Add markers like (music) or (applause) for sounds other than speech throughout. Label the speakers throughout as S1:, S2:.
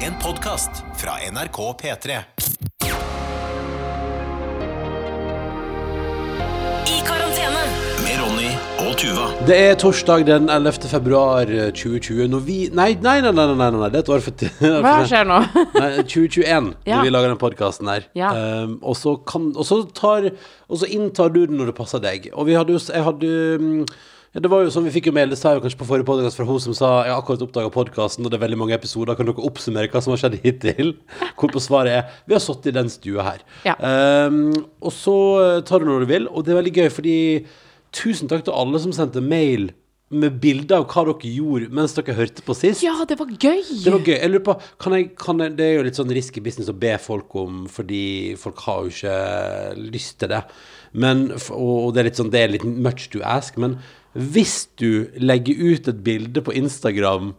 S1: En podcast fra NRK P3.
S2: I karantene.
S1: Med Ronny og Tuva.
S3: Det er torsdag den 11. februar eh, 2020 når vi Nei, nei, nei, nei, nei, nei, nei. det er et år for ti- (laughs)
S4: Hva skjer nå?
S3: Nei, 2021,
S4: (laughs) Ja.
S3: når vi lager den podkasten her.
S4: Ja.
S3: Um, og, så kan, og, så tar, og så inntar du den når det passer deg. Og vi hadde jo s- Jeg hadde um, ja, det var jo sånn, Vi fikk jo mail det sa jeg jo kanskje på forrige podcast fra hun som sa Jeg har akkurat oppdaga podkasten, og det er veldig mange episoder. Kan dere oppsummere hva som har skjedd hittil? (laughs) Hvorpå svaret er Vi har sittet i den stua her.
S4: Ja.
S3: Um, og så tar du når du vil, og det er veldig gøy, fordi tusen takk til alle som sendte mail med bilde av hva dere gjorde mens dere hørte på sist.
S4: (laughs) Ja, det var gøy!
S3: Det var gøy. Jeg lurer på, kan jeg, kan jeg, det er jo litt sånn risky business å be folk om, fordi folk har jo ikke lyst til det. Men, f- og det er litt sånn, det er litt much to ask, men hvis du legger ut et bilde på Instagram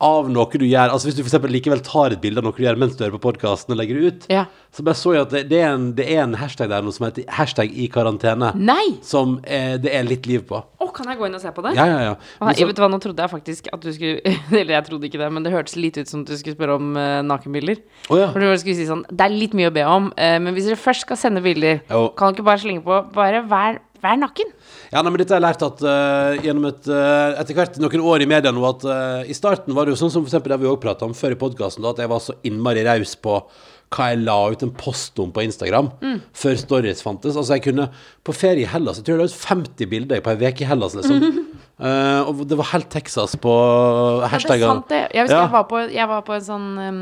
S3: av noe du gjør, altså hvis du for eksempel likevel tar et bilde av noe du gjør mens du hører på podcasten og legger det ut,
S4: Ja.
S3: så bare så jeg at det, det, er en, det er en hashtag der nå som heter hashtag i karantene,
S4: Nei!
S3: som eh, det er litt liv på.
S4: Å, kan jeg gå inn og se på det?
S3: Ja, ja, ja.
S4: Å,
S3: Men
S4: nei,
S3: så-
S4: vet du hva, Nå trodde jeg faktisk at du skulle (laughs) Eller jeg trodde ikke det, men det hørtes litt ut som at du skulle spørre om eh, nakenbilder.
S3: Å, ja.
S4: For du skulle si sånn Det er litt mye å be om, eh, men hvis dere først skal sende bilder,
S3: Jo.
S4: kan dere ikke bare slenge på Bare vær, vær naken.
S3: Ja, nei, men dette har jeg lært at eh, gjennom et, eh, etter hvert noen år i media nå, at eh, i starten var det jo sånn som for eksempel det vi også pratet om før i podcasten, da, at jeg var så innmari raus på hva jeg la ut en post om på Instagram,
S4: Mm.
S3: før stories fantes. Altså jeg kunne, på ferie i Hellas, jeg tror jeg la ut 50 bilder på en vek i Hellas, liksom.
S4: (laughs)
S3: Eh, og det var helt Texas på hashtaggen.
S4: Ja, det er sant, det. Jeg husker
S3: Ja.
S4: jeg, var på, jeg var på en sånn um,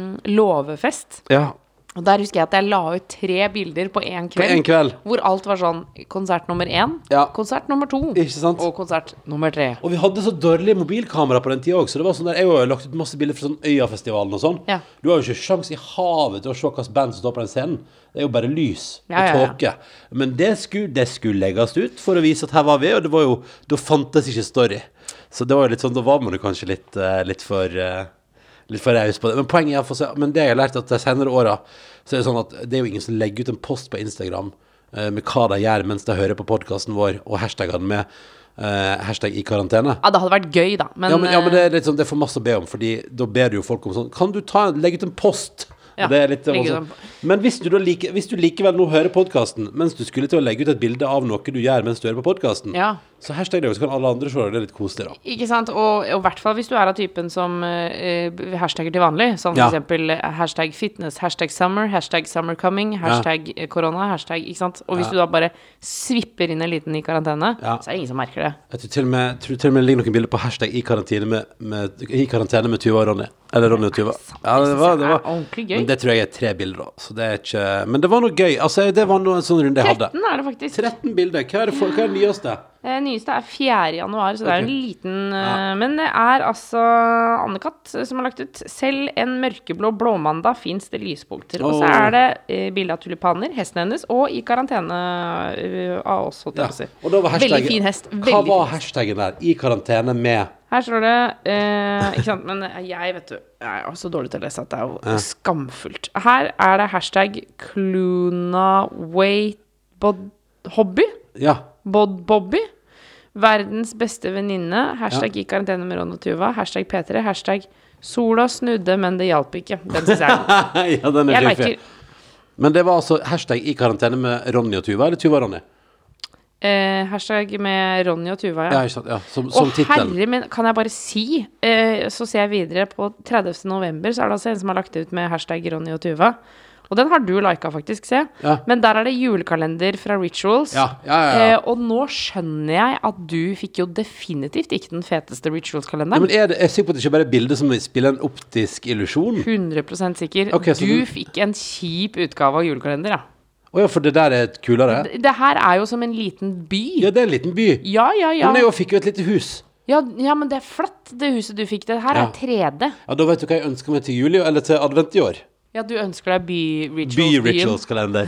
S4: låvefest.
S3: Ja,
S4: Og der husker jeg at jeg la ut tre bilder på én kveld.
S3: en kveld.
S4: Hvor alt var sånn konsert nummer én,
S3: Ja.
S4: konsert nummer to
S3: Ikke sant?
S4: og konsert nummer tre.
S3: Og vi hadde så dårlig mobilkamera på den tida òg, så det var sånn der, jeg har jo lagt ut masse bilder fra sånn Øyafestivalen og sånn.
S4: Ja.
S3: Du har jo ikke sjans i havet til å se hvilket band som står på den scenen. Det er jo bare lys
S4: Ja, ja,
S3: og
S4: ja.
S3: tåke. Men det skulle, det skulle legges ut for å vise at her var vi, og det var jo, da fantes ikke story. Så det var jo litt sånn, da var man jo kanskje litt, eh, litt for eh, Litt for raus på det. Men poenget er for seg, men det jeg har lært at de senere åra, så er det sånn at det er jo ingen som legger ut en post på Instagram eh, med hva de gjør mens de hører på podkasten vår, og hashtagene med eh, hashtag i karantene.
S4: Ja, det hadde vært gøy, da. Men,
S3: ja, men, ja, men
S4: eh,
S3: det er litt sånn, det er for masse å be om, Fordi da ber du jo folk om sånn Kan du ta, legge ut en post?
S4: Ja,
S3: det er litt,
S4: legge ut
S3: også-
S4: en po-
S3: men hvis du, da like, hvis du likevel nå hører podkasten mens du skulle til å legge ut et bilde av noe du gjør mens du hører på podkasten,
S4: Ja.
S3: så hashtag det, og så kan alle andre se det. Det er litt koselig, da.
S4: eh, Ikke sant, og og i hvert fall hvis du er av typen som eh, eh, hashtagger til vanlig, som
S3: Ja.
S4: for eksempel eh, hashtag fitness, hashtag summer, hashtag summer coming, hashtag eh, korona, hashtag, ikke sant. Og hvis
S3: Ja.
S4: du da bare svipper inn en liten i karantene,
S3: Ja.
S4: så er det ingen som merker det.
S3: Jeg tror til og med, tror til og med det ligger noen bilder på hashtag i karantene med, med, i karantene med Tuva og Ronny. Eller Ronny og Tuva. Ja, det var, det var.
S4: Det er ordentlig gøy.
S3: Men det tror jeg er tre bilder, da. Så det er ikke, men det var noe gøy. Altså, det var noe, en sånn runde jeg hadde.
S4: 13 er det faktisk.
S3: 13 bilder. Hva er det, for, hva er det nyeste?
S4: Eh, nyeste er 4. januar, så det er jo
S3: Ok.
S4: en liten eh,
S3: Ja.
S4: Men det er altså Anne-Kat. som har lagt ut. Selv en mørkeblå blåmandag fins det lyspunkter. Og så
S3: Åh.
S4: er det eh, bilde av tulipaner, hesten hennes, og i karantene eh, av oss, holdt
S3: Ja.
S4: jeg på å si.
S3: Og da var hashtaggen-
S4: Veldig fin hest.
S3: Hva
S4: Veldig fin
S3: var
S4: hest.
S3: hashtaggen der? I karantene med
S4: Her står det eh, Ikke sant, men jeg, vet du Jeg er jo så dårlig til å lese at det er jo skamfullt. Her er det hashtag clunawayhobby.
S3: Ja. (laughs)
S4: Bod Bobby. Verdens beste venninne. Hashtag i karantene med Ron og Tuva. Hashtag P3. Hashtag sola snudde, men det hjalp ikke. Den synes jeg. er
S3: (laughs)
S4: god.
S3: ja, den er
S4: Jeg
S3: fiffig.
S4: liker
S3: Men det var altså hashtag i karantene med Ronny og Tuva, eller Tuva og Ronny?
S4: eh, hashtag med Ronny og Tuva,
S3: Ja,
S4: ja.
S3: ikke sant? Ja, som
S4: Å,
S3: som tittel.
S4: herre min, kan jeg bare si eh, Så ser jeg videre på 30. november, så er det altså en som har lagt ut med hashtag Ronny og Tuva. Og den har du lika, faktisk, se.
S3: Ja.
S4: Men der er det julekalender fra Rituals.
S3: Ja, ja, ja, ja.
S4: Eh, og nå skjønner jeg at du fikk jo definitivt ikke den feteste
S3: Ja,
S4: Rituals-kalenderen.
S3: men er det, jeg er sikker på at det ikke bare er bilder som spiller en optisk illusjon.
S4: 100 sikker.
S3: Ok, så
S4: du
S3: den-
S4: fikk en kjip utgave av julekalender, ja.
S3: Å ja, for det der er kulere?
S4: Det- Det her er jo som en liten by.
S3: Ja, det er en liten by.
S4: Ja, ja, ja.
S3: Men jeg fikk jo et lite hus.
S4: Ja, ja men det er flatt, det huset du fikk. Det her
S3: Ja.
S4: er 3D.
S3: Ja, Da vet du hva jeg ønsker meg til jul i år, eller til advent i år.
S4: Ja, du ønsker deg by-rituals-byen.
S3: By-rituals-kalender.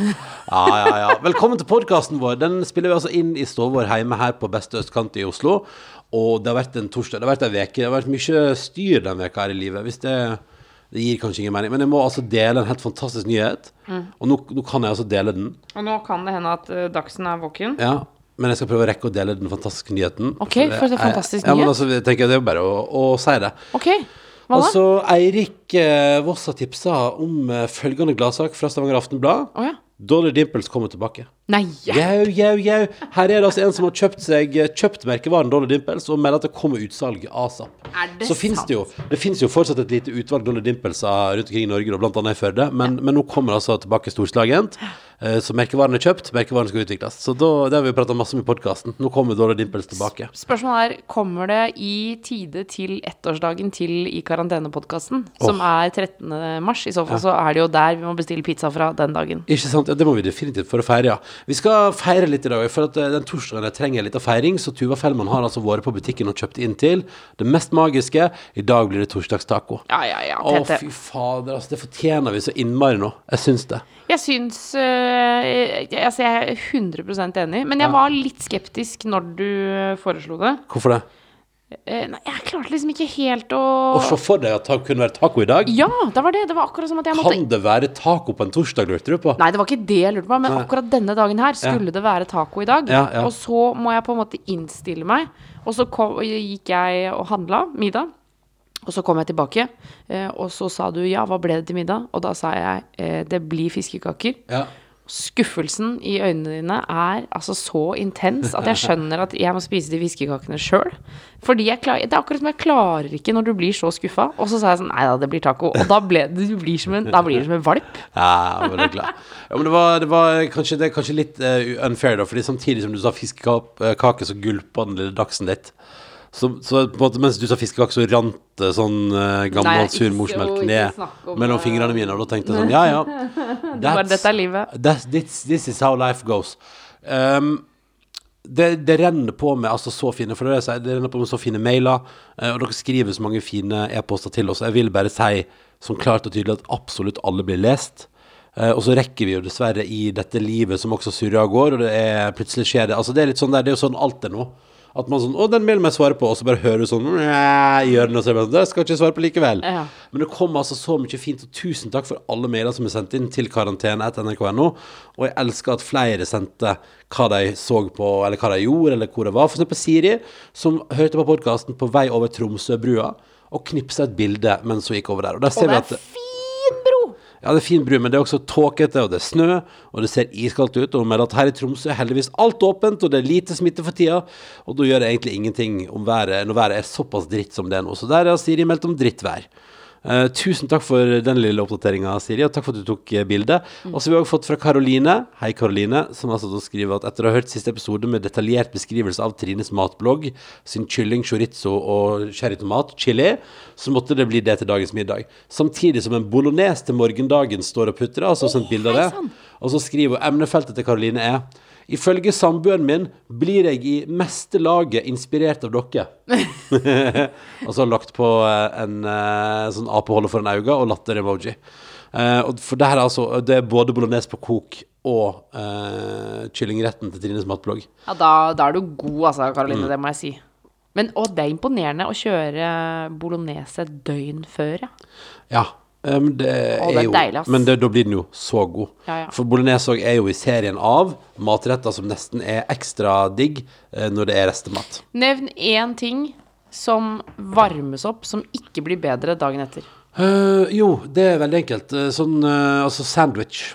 S3: Ja, ja, ja. Velkommen til podkasten vår. Den spiller vi altså inn i stua vår hjemme her på beste østkant i Oslo. Og det har vært en torsdag, det har vært en veke, det har vært mye styr den veka her i livet. Hvis det, det gir kanskje ingen mening. Men jeg må altså dele en helt fantastisk nyhet.
S4: Mm.
S3: Og nå, nå kan jeg altså dele den.
S4: Og nå kan det hende at eh, Dagsen er våken.
S3: Ja, men jeg skal prøve å rekke å dele den fantastiske nyheten.
S4: Ok, for en fantastisk
S3: Ja, men
S4: nyhet.
S3: altså, jeg tenker, det er jo bare å, å si det.
S4: Ok. Hva
S3: Og
S4: da?
S3: så Eirik eh, Voss har tipsa om eh, følgende gladsak fra Stavanger Aftenblad.
S4: Å ja.
S3: Dolly Dimples kommer tilbake.
S4: Nei!
S3: Jau, jau, jau. Her er det altså en som har kjøpt seg Kjøpt merkevaren Dolly Dimples og melder at det kommer utsalg asap.
S4: Er det
S3: Så finnes det jo Det finnes jo fortsatt et lite utvalg Dolly Dimples av rundt omkring i Norge, og blant annet i Førde, men, men nå kommer altså tilbake storslagent. Eh, Så merkevaren er kjøpt, merkevaren skal utvikles. Så da, det har vi jo prata masse om i podkasten. Nå kommer Dolly Dimples tilbake.
S4: Spørsmålet er, kommer det i tide til ettårsdagen til I karantene-podkasten? Som er 13. mars. I så fall så er det jo der vi må bestille pizza fra den dagen.
S3: Ikke sant? Ja, det må vi definitivt for å feire, ja. Vi skal feire litt i dag. For at eh, den torsdagen jeg trenger litt av feiring, så Tuva Fellmann har altså vært på butikken og kjøpt inn til det mest magiske. I dag blir det torsdagstaco.
S4: Ja, ja, ja.
S3: Å,
S4: Tete.
S3: fy fader, altså. Det fortjener vi så innmari nå. Jeg syns det.
S4: Jeg syns øh, jeg, altså jeg er 100 enig, men jeg var litt skeptisk når du øh, foreslo det.
S3: Hvorfor det?
S4: Eh, Nei, jeg klarte liksom ikke helt å
S3: Å se for deg at det kunne være taco i dag.
S4: Ja, det var det. Det var akkurat som at jeg måtte
S3: Kan det være taco på en torsdag, lurte du på?
S4: Nei, det var ikke det jeg lurte på, men akkurat denne dagen her skulle det være taco i dag.
S3: Ja, ja.
S4: Og så må jeg på en måte innstille meg. Og så kom, gikk jeg og handla middag. Og så kom jeg tilbake, eh, og så sa du ja, hva ble det til middag? Og da sa jeg eh, det blir fiskekaker.
S3: Ja.
S4: Skuffelsen i øynene dine er altså så intens at jeg skjønner at jeg må spise de fiskekakene sjøl. Fordi jeg klar, det er akkurat som jeg klarer ikke når du blir så skuffa. Og så sa jeg sånn nei da, det blir taco. Og da, ble, det- du blir som en, da blir du som en valp.
S3: Ja, men det er klart. Ja, men det var, det var kanskje, det er kanskje litt eh, unfair, da, fordi samtidig som du sa fiskekake, så gulpa den lille dachsen litt. Så, så på en måte, mens du sa fiskekake, så rant det sånn eh,
S4: Nei,
S3: gammel,
S4: ikke
S3: sur
S4: så-
S3: morsmelk
S4: ikke
S3: ned
S4: snakk om
S3: mellom
S4: det.
S3: fingrene mine, og da tenkte
S4: (laughs)
S3: jeg sånn, ja, ja.
S4: Bare
S3: That's-
S4: dette er livet.
S3: that's- this, this is how life goes. Um, det, det renner på med altså så fine for det, er det, jeg sier, det renner på med så fine mailer, eh, og dere skriver så mange fine e-poster til oss. Jeg vil bare si som klart og tydelig at absolutt alle blir lest. Eh, og så rekker vi jo dessverre i dette livet som også surrer av gårde, og det er, plutselig skjer det. Altså det er litt sånn der, det er jo sånn alt er nå. At man sånn, å den mailen må jeg svare på, og så bare hører du sånn, «Næ», i hjørnet, og så er det bare sånn, det skal jeg ikke svare på likevel.
S4: Ja.
S3: Men det kom altså så mye fint, og tusen takk for alle mailer som er sendt inn til karantene.nrk.no. Og jeg elsker at flere sendte hva de så på, eller hva de gjorde, eller hvor det var. For eksempel Siri, som hørte på podkasten på vei over Tromsøbrua, og knipsa et bilde mens hun gikk over der. Og der ser vi
S4: Og det
S3: at
S4: er fin bro!
S3: ja, det er fin bru, men det er også tåkete, og det er snø, og det ser iskaldt ut. Og hun melder at her i Tromsø er heldigvis alt åpent, og det er lite smitte for tida. Og da gjør det egentlig ingenting om været, når været er såpass dritt som det er nå. Så der har Siri meldt om drittvær. Eh, tusen takk for den lille oppdateringa, Siri, og takk for at du tok eh, bildet. Og så har vi også fått fra Karoline, hei Karoline, som altså da skriver at etter å ha hørt siste episode med detaljert beskrivelse av Trines matblogg, sin kylling, chorizo og cherrytomat, chili, så måtte det bli det til dagens middag. Samtidig som en bolognese til morgendagen står og putrer, altså sendt bilde av det. Og så skriver hun emnefeltet til Karoline er Ifølge samboeren min blir jeg i meste laget inspirert av dere. og så har hun lagt på eh, en eh, sånn apeholde foran øynene og latter-emoji. Eh, og for det her er altså Det er både bolognese på kok og eh, kyllingretten til Trines matblogg.
S4: Ja, da, da er du god, altså, Karoline. Det må jeg si. Men å, det er imponerende å kjøre bolognese et døgn før, ja.
S3: Ja. Um, det er,
S4: Å, det er
S3: jo,
S4: deilig, ass.
S3: men det, da blir den jo så god.
S4: Ja, ja.
S3: For bolognese også er jo i serien av matretter som nesten er ekstra digg eh, når det er restemat.
S4: Nevn én ting som varmes opp, som ikke blir bedre dagen etter.
S3: Eh, jo, det er veldig enkelt. Eh, Sånn eh, altså sandwich.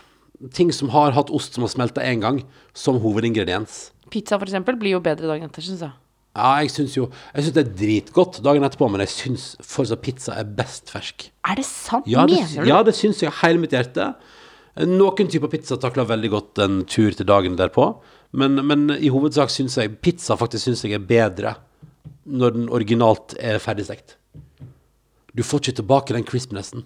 S3: Ting som har hatt ost som har smelta én gang, som hovedingrediens.
S4: Pizza, for eksempel, blir jo bedre dagen etter, syns jeg.
S3: Ja, jeg syns jo Jeg synes det er dritgodt dagen etterpå, men jeg syns fortsatt pizza er best fersk.
S4: Er det sant?
S3: Ja, det,
S4: Mener du?
S3: ja, det syns jeg av hele mitt hjerte. Noen typer pizza takler veldig godt en tur til dagen derpå, men, men i hovedsak syns jeg pizza faktisk synes jeg er bedre når den originalt er ferdigstekt. Du får ikke tilbake den crispnessen.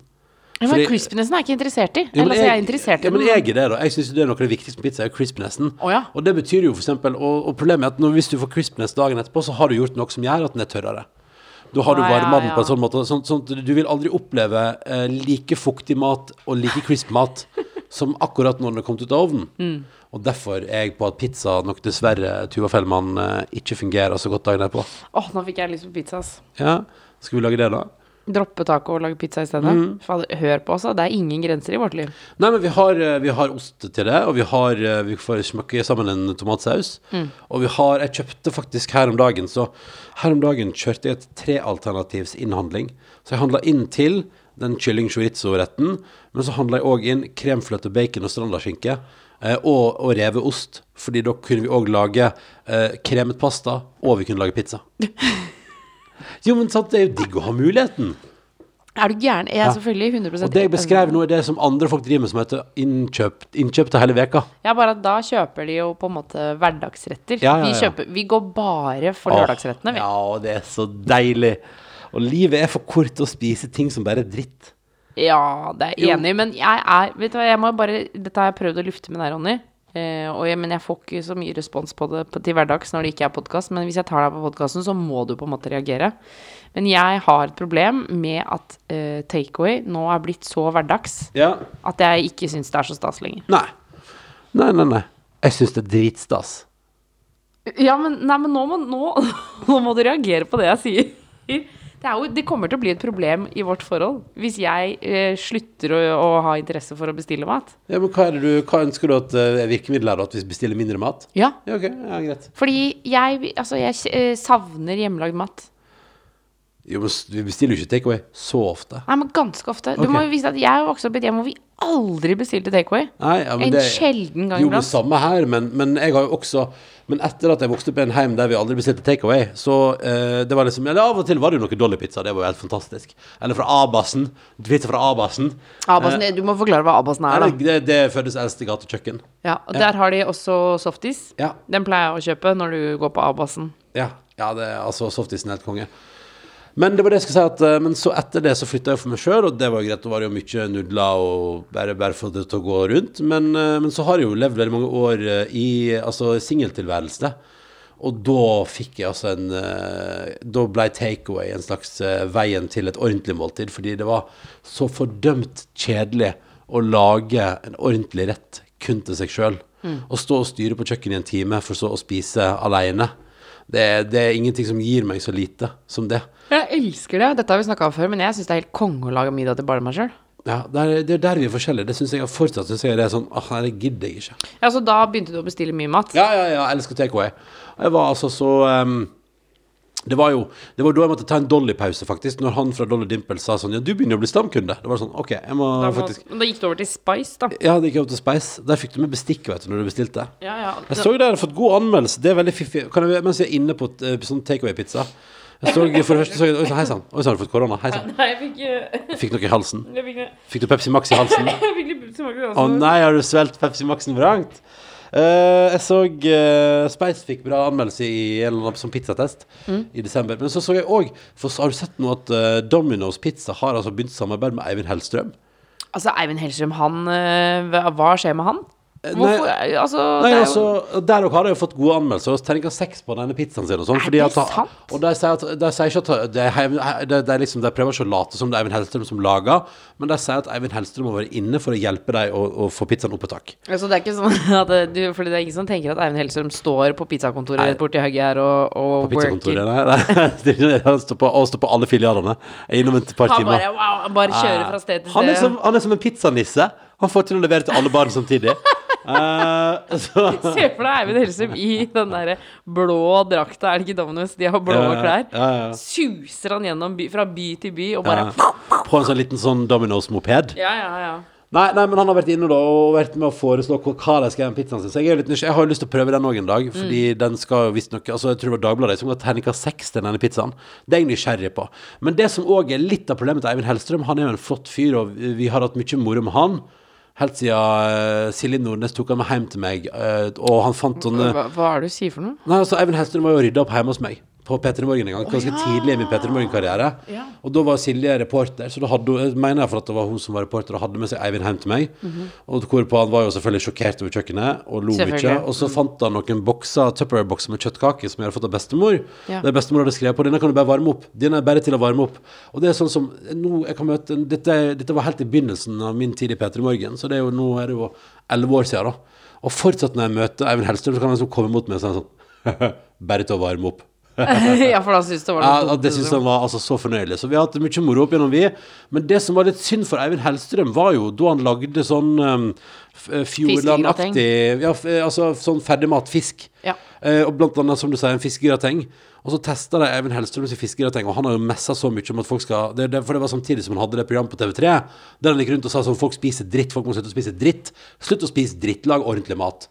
S4: Ja, men
S3: fordi-
S4: crispinessen er jeg ikke interessert i.
S3: Ja, men
S4: Eller altså, jeg er interessert i
S3: ja, men
S4: den.
S3: jeg er det, da. Jeg syns det er noe av det viktigste med pizza, er crispnessen.
S4: Å, ja.
S3: Og det betyr jo for eksempel Og, og problemet er at når, hvis du får crispness dagen etterpå, så har du gjort noe som gjør at den er tørrere. Da har du
S4: Ja, ja,
S3: varma den på en
S4: ja.
S3: sånn måte. Sånn, sånn, at du vil aldri oppleve eh, like fuktig mat og like crisp
S4: (laughs)
S3: mat som akkurat når den er kommet ut av ovnen.
S4: Mm.
S3: Og derfor er jeg på at pizza nok dessverre, Tuva Fellmann, eh, ikke fungerer så godt dagen etterpå.
S4: Åh, nå fikk jeg lyst på pizza, ass.
S3: Ja, skal vi lage det, da?
S4: Droppe taco og lage pizza i stedet.
S3: Mm.
S4: Fader, hør på oss, da. Det er ingen grenser i vårt liv.
S3: Nei, men vi har, eh, vi har ost til det, og vi, har, eh, vi får smøkke sammen en tomatsaus. Og vi har Jeg kjøpte faktisk her om dagen, så her om dagen kjørte jeg et trealternativs innhandling. Så jeg handla inn til den kylling chorizo-retten, men så handla jeg òg inn kremfløte, bacon og strandaskinke. eh, Og, og reveost, fordi da kunne vi òg lage eh, kremet pasta, og vi kunne lage pizza. Jo, men sant, det er jo digg å ha muligheten.
S4: Er du gæren? Jeg er selvfølgelig 100
S3: Og det jeg beskrev nå, er det som andre folk driver med, som heter innkjøp, innkjøp til hele veka.
S4: Ja, bare at da kjøper de jo på en måte hverdagsretter.
S3: Ja, ja, ja.
S4: Vi, kjøper, vi går bare for lørdagsrettene, vi.
S3: Ja, og det er så deilig. Og livet er for kort til å spise ting som bare er dritt.
S4: Ja, det er jeg enig i, men jeg er Vet du hva, jeg må bare Dette har jeg prøvd å lufte med deg, Ronny. Eh, og jeg, men jeg får ikke så mye respons på det på, til hverdags når det ikke er podkast. Men hvis jeg tar deg på podkasten, så må du på en måte reagere. Men jeg har et problem med at eh, takeaway nå er blitt så hverdags
S3: Ja.
S4: at jeg ikke syns det er så stas lenger.
S3: Nei. Nei, nei, nei. Jeg syns det er dritstas.
S4: Ja, men, nei, men nå, må, nå, (laughs) nå må du reagere på det jeg sier. Det, er jo, det kommer til å bli et problem i vårt forhold hvis jeg eh, slutter å, å ha interesse for å bestille mat.
S3: Ja, men hva, er det du, hva ønsker du at eh, virkemidlet er, da? At vi bestiller mindre mat?
S4: Ja.
S3: Ja, ok. Ja, greit.
S4: Fordi jeg, altså, jeg eh, savner hjemmelagd mat.
S3: Jo, men s- vi bestiller jo ikke takeaway så ofte.
S4: Nei, men ganske ofte.
S3: Ok.
S4: Du må jo vise at jeg vokste opp i et hjem hvor vi aldri bestilte takeaway.
S3: Nei, ja, men
S4: en
S3: det-
S4: sjelden gang
S3: Jo, men
S4: iblant.
S3: samme her, men, men jeg har jo også Men etter at jeg vokste opp i en heim der vi aldri bestilte takeaway, så eh, det var liksom Eller av og til var det jo noe Dolly-pizza, det var jo helt fantastisk. Eller fra Abasen. Pizza fra Abasen.
S4: Abasen, du må forklare hva Abasen er,
S3: Eller,
S4: da.
S3: det, det fødes eldste gatekjøkken.
S4: Ja, og Der har de også softis.
S3: Ja.
S4: Den pleier jeg å kjøpe når du går på Abasen.
S3: Ja, ja det, altså softisen er helt konge. Men det var det jeg skulle si at, eh, men så etter det så flytta jeg for meg sjøl, og det var jo greit. Det var det jo mye nudler og bare, bare for det til å gå rundt. Men, eh, men så har jeg jo levd veldig mange år eh, i altså, singeltilværelse. Og da fikk jeg altså en eh, Da ble takeaway en slags eh, veien til et ordentlig måltid, fordi det var så fordømt kjedelig å lage en ordentlig rett kun til seg sjøl. Å stå og styre på kjøkkenet i en time for så å spise aleine. Det, er- det er ingenting som gir meg så lite som det.
S4: Jeg elsker det. Dette har vi snakka om før, men jeg syns det er helt konge å lage middag til bare meg sjøl.
S3: Ja, det er det er der vi er forskjellige. Det synes jeg fortsatt synes jeg det er sånn ah, Nei, det gidder jeg ikke.
S4: Ja, så da begynte du å bestille mye mat?
S3: Ja, ja, ja, jeg elsker takeaway. Jeg var altså så ehm, Det var jo Det var da jeg måtte ta en Dolly-pause, faktisk, når han fra Dolly Dimple sa sånn Ja, du begynner å bli stamkunde. Det var sånn OK, jeg må
S4: da, må,
S3: faktisk
S4: da gikk du over til Spice, da.
S3: Ja, det gikk opp til Spice. Der fikk du med bestikk, vet du, når du bestilte.
S4: Ja, ja.
S3: Jeg så jo der har fått god anmeldelse. Det er veldig fiffig. Kan jeg, mens jeg er inne på eh, sånn takeaway-pizza Jeg så for det første så jeg, Oi sann, hei sann. Oi sann, har du fått korona? Hei sann.
S4: Nei, jeg fikk, eh,
S3: Fikk noe i halsen?
S4: jeg fikk, jeg
S3: Fikk du Pepsi Max i halsen?
S4: fikk litt bubbel i altså.
S3: Å
S4: halsen.
S3: nei, har du svelget Pepsi Maxen vrangt? Eh, jeg så eh, Spice fikk bra anmeldelse i en eller annen som pizzatest
S4: Mm.
S3: i desember. Men så så jeg òg Har du sett nå at eh, Domino's Pizza har altså begynt samarbeid med Eivind Hellstrøm?
S4: Altså, Eivind Hellstrøm, han eh, hva- Hva skjer med han? Hvorfor
S3: Eh, nei,
S4: Altså,
S3: Nei,
S4: det er jo
S3: altså, Der òg har de jo fått gode anmeldelser. Og terningkast seks på denne pizzaen sin. Og sånn,
S4: Er
S3: fordi
S4: det
S3: at-
S4: sant?
S3: Og de sier, at, de sier ikke at de, de, de, liksom, de prøver ikke å late som det er Eivind Hellstrøm som lager, men de sier at Eivind Hellstrøm må være inne for å hjelpe dem å, å få pizzaen opp på tak.
S4: altså, det er ikke sånn (laughs) at eh, du Fordi det er ingen som tenker at Eivind Hellstrøm står på pizzakontoret borti høgget her og, og
S3: På pizzakontoret,
S4: worker.
S3: nei. nei. (laughs) Det er ikke- Han står på, og står på alle filialene. Jeg er innom et par
S4: Han
S3: timer.
S4: bare, wow, han bare kjører fra sted til
S3: han, liksom- er som,
S4: sted.
S3: han er som en pizzanisse. Han får til å levere til alle barn samtidig. Eh, så,
S4: (laughs) Se for deg Eivind Hellstrøm i den derre blå drakta, er det ikke Domino's? De har blå
S3: Ja, ja,
S4: klær.
S3: ja, ja.
S4: Suser han gjennom by, fra by til by og bare
S3: eh, på en sånn liten sånn Domino's-moped.
S4: (laughs) Ja, ja, ja.
S3: Nei, nei, men han har vært inne da og vært med å foreslå hva- hva de skal gjøre med pizzaen sin. Så jeg, er jo litt nysgjerrig. jeg har jo lyst til å prøve den òg en dag. Fordi den skal jo visstnok altså Jeg tror det var Dagbladet som ga terningkast seks til denne pizzaen. Det er jeg nysgjerrig på. Men det som òg er litt av problemet til Eivind Hellstrøm, han er jo en flott fyr, og vi har hatt mye moro med han. Helt siden eh, Silje Nordnes tok han med hjem til meg, eh, og han fant sånne
S4: Hva, hva er det du sier
S3: (laughs)
S4: for noe? (laughs)
S3: Nei, altså Eivind Hellstrøm var jo rydda opp hjemme hos meg på P3 Morgen en gang, ganske tidlig i min P3 Morgen-karriere. Og da var Silje reporter, så da hadde, hun- jeg mener jeg for at det var hun som var reporter og hadde med seg Eivind hjem til meg. Og hvorpå han var jo selvfølgelig sjokkert over kjøkkenet og lo mye.
S4: Selvfølgelig.
S3: Og så fant han noen bokser, Tupperware-bokser med kjøttkaker som jeg hadde fått av bestemor.
S4: Ja.
S3: Der bestemor hadde skrevet på denne kan du bare varme opp. Denne er bare til å varme opp. Og det er sånn som nå jeg kan møte Dette, dette var helt i begynnelsen av min tid i P3 Morgen, så det er jo, nå er det jo elleve år siden, da. Og fortsatt når jeg møter Eivind Hellstrøm, så kan han liksom komme mot meg og si sånn (laughs) bare til å varme opp.
S4: ja, for da syns det var noe
S3: Ja,
S4: dumt,
S3: det syns
S4: liksom.
S3: han var altså, så fornøyelig. Så vi har hatt mye moro opp gjennom, vi. Men det som var litt synd for Eivind Hellstrøm, var jo da han lagde sånn um, Fjordland-aktig ja, f- eh, Altså sånn ferdigmat fisk.
S4: Ja.
S3: Eh, og blant annet, som du sier, en fiskegrateng. Og så testa de Eivind Hellstrøm sin fiskegrateng, og han har jo messa så mye om at folk skal det, det, For det var samtidig som han hadde det programmet på TV3, der han gikk rundt og sa sånn Folk spiser dritt, folk må slutte å spise dritt. Slutt å spise dritt, lag ordentlig mat.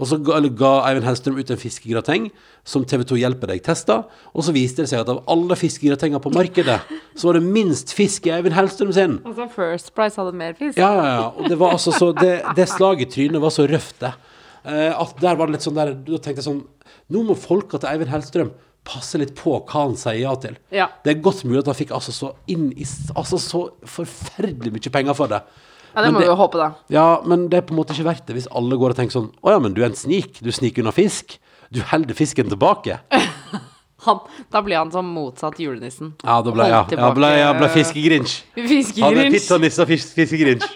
S3: Og så ga, eller ga Eivind Hellstrøm ut en fiskegrateng som TV 2 Hjelper deg testa, og så viste det seg at av alle fiskegratenger på markedet, så var det minst fisk i Eivind Hellstrøm sin.
S4: Altså, First Price hadde mer fisk.
S3: Ja, ja, ja. Og det, var altså så, det, det slaget i trynet var så røft, det. Eh, at der var det litt sånn der Da tenkte jeg sånn Nå må folka til Eivind Hellstrøm passe litt på hva han sier ja til.
S4: Ja.
S3: Det er godt mulig at han fikk altså så inn i s- Altså så forferdelig mye penger for det.
S4: Ja, det
S3: Men
S4: må vi jo håpe, da.
S3: Ja, men det er på en måte ikke verdt det hvis alle går og tenker sånn Å ja, men du er en snik. Du sniker unna fisk. Du holder fisken tilbake.
S4: Han, da blir han som motsatt julenissen.
S3: Ja, da ble
S4: Holdt
S3: jeg ja, ble, ja, ble
S4: (laughs)
S3: fiskegrinch. Han er
S4: Fiskegrinch.
S3: pittonissa sånn fiskegrinch.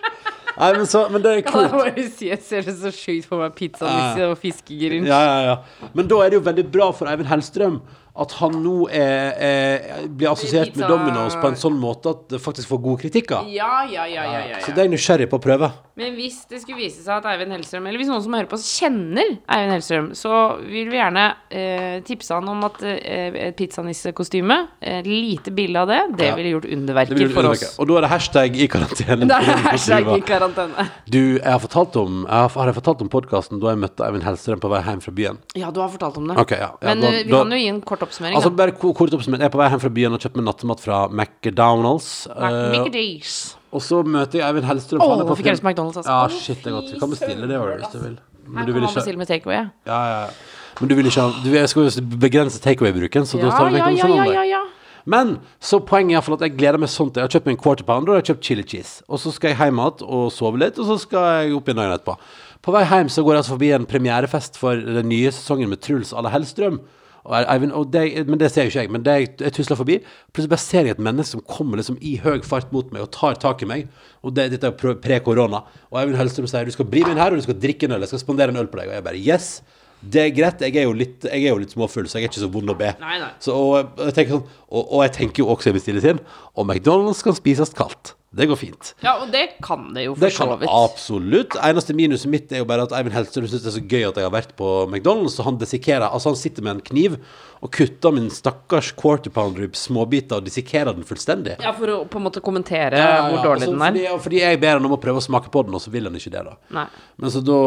S3: Nei, men så Men det er
S4: Kan jeg
S3: klokt.
S4: bare si, jeg ser det så sjukt for meg, pizzanisse og fiskegrinch.
S3: Ja, ja, ja. Men da er det jo veldig bra for Eivind Hellstrøm at han nå er, er, blir assosiert med
S4: Pizza-
S3: Domino's på en sånn måte at det faktisk får gode kritikker.
S4: Ja, ja, ja, ja, ja,
S3: Så
S4: ja.
S3: det er jeg nysgjerrig på å prøve.
S4: Men hvis det skulle vise seg at Eivind Hellstrøm, eller hvis noen som hører på oss, kjenner Eivind Hellstrøm, så vil vi gjerne eh, tipse han om at eh, et pizzanissekostyme, et lite bilde av det, det
S3: Ja.
S4: ville gjort
S3: Det blir
S4: underverker
S3: jo
S4: for
S3: underveis.
S4: oss.
S3: Og da er det hashtag i karantene.
S4: (laughs) Det er hashtag i karantene.
S3: Du, jeg har fortalt om, jeg har, har jeg fortalt om podkasten da jeg møtte Eivind Hellstrøm på vei hjem fra byen.
S4: Ja, du har fortalt om det.
S3: Ok, ja. Ja,
S4: Men
S3: da-
S4: eh, vi
S3: da-
S4: kan jo gi en kort oppsummering.
S3: Altså
S4: da.
S3: bare ko- kort oppsummert, Jeg er på vei hjem fra byen og kjøper meg nattemat fra McDonald's. eh,
S4: McDonald's.
S3: og så møter jeg Eivind Hellstrøm.
S4: Åh,
S3: han er på
S4: fikk
S3: film-
S4: jeg lyst på McDonald's, altså.
S3: Ja,
S4: Åh,
S3: shit, det er godt. Vi kan bestille det også, hvis du vil. Men
S4: Her
S3: du vil
S4: kan man
S3: ikke
S4: bestille med takeaway. ja.
S3: Ja, ja, ja. Men du vil ikke ha du, Jeg skal jo begrense takeaway-bruken, så da
S4: Ja,
S3: står sånn det
S4: ja,
S3: McDonald's
S4: ja,
S3: foran
S4: ja,
S3: deg.
S4: ja, ja.
S3: Men så poenget er iallfall at jeg gleder meg sånn til Jeg har kjøpt meg en quarter pounder og jeg har kjøpt chili cheese. Og så skal jeg hjem igjen og sove litt, og så skal jeg opp igjen dagen etterpå. På vei hjem så går jeg altså forbi en premierefest for den nye sesongen med Truls à la Hellstrøm. Og jeg- Eivind, og det, men det ser jo ikke jeg. Men det, jeg, jeg tusler forbi. Plutselig bare ser jeg et menneske som kommer liksom i høy fart mot meg og tar tak i meg. Og det, dette er jo pre-korona. Og Eivind Hellstrøm sier du skal bli med inn her, og du skal drikke en øl. Jeg skal spandere en øl på deg. Og jeg bare yes. Det er greit, jeg er jo litt, jeg er jo litt småfull, så jeg er ikke så vond å be.
S4: Nei, nei.
S3: Så, og, jeg tenker sånn, og, og jeg tenker jo også jeg bestiller inn, og McDonald's kan spises kaldt. Det går fint.
S4: Ja, og det kan det jo for
S3: Det
S4: så
S3: kan
S4: vidt.
S3: absolutt. Eneste minuset mitt er jo bare at Eivind Hellstrøm syns det er så gøy at jeg har vært på McDonald's, så han desikerer. Altså, han sitter med en kniv og kutter min stakkars quarter pounder i småbiter og dissekerer den fullstendig.
S4: Ja, for å på en måte kommentere
S3: Ja, ja, ja.
S4: hvor dårlig
S3: Altså,
S4: den er.
S3: Fordi, fordi jeg ber han om å prøve å smake på den, og så vil han ikke det, da.
S4: Nei.
S3: Men så da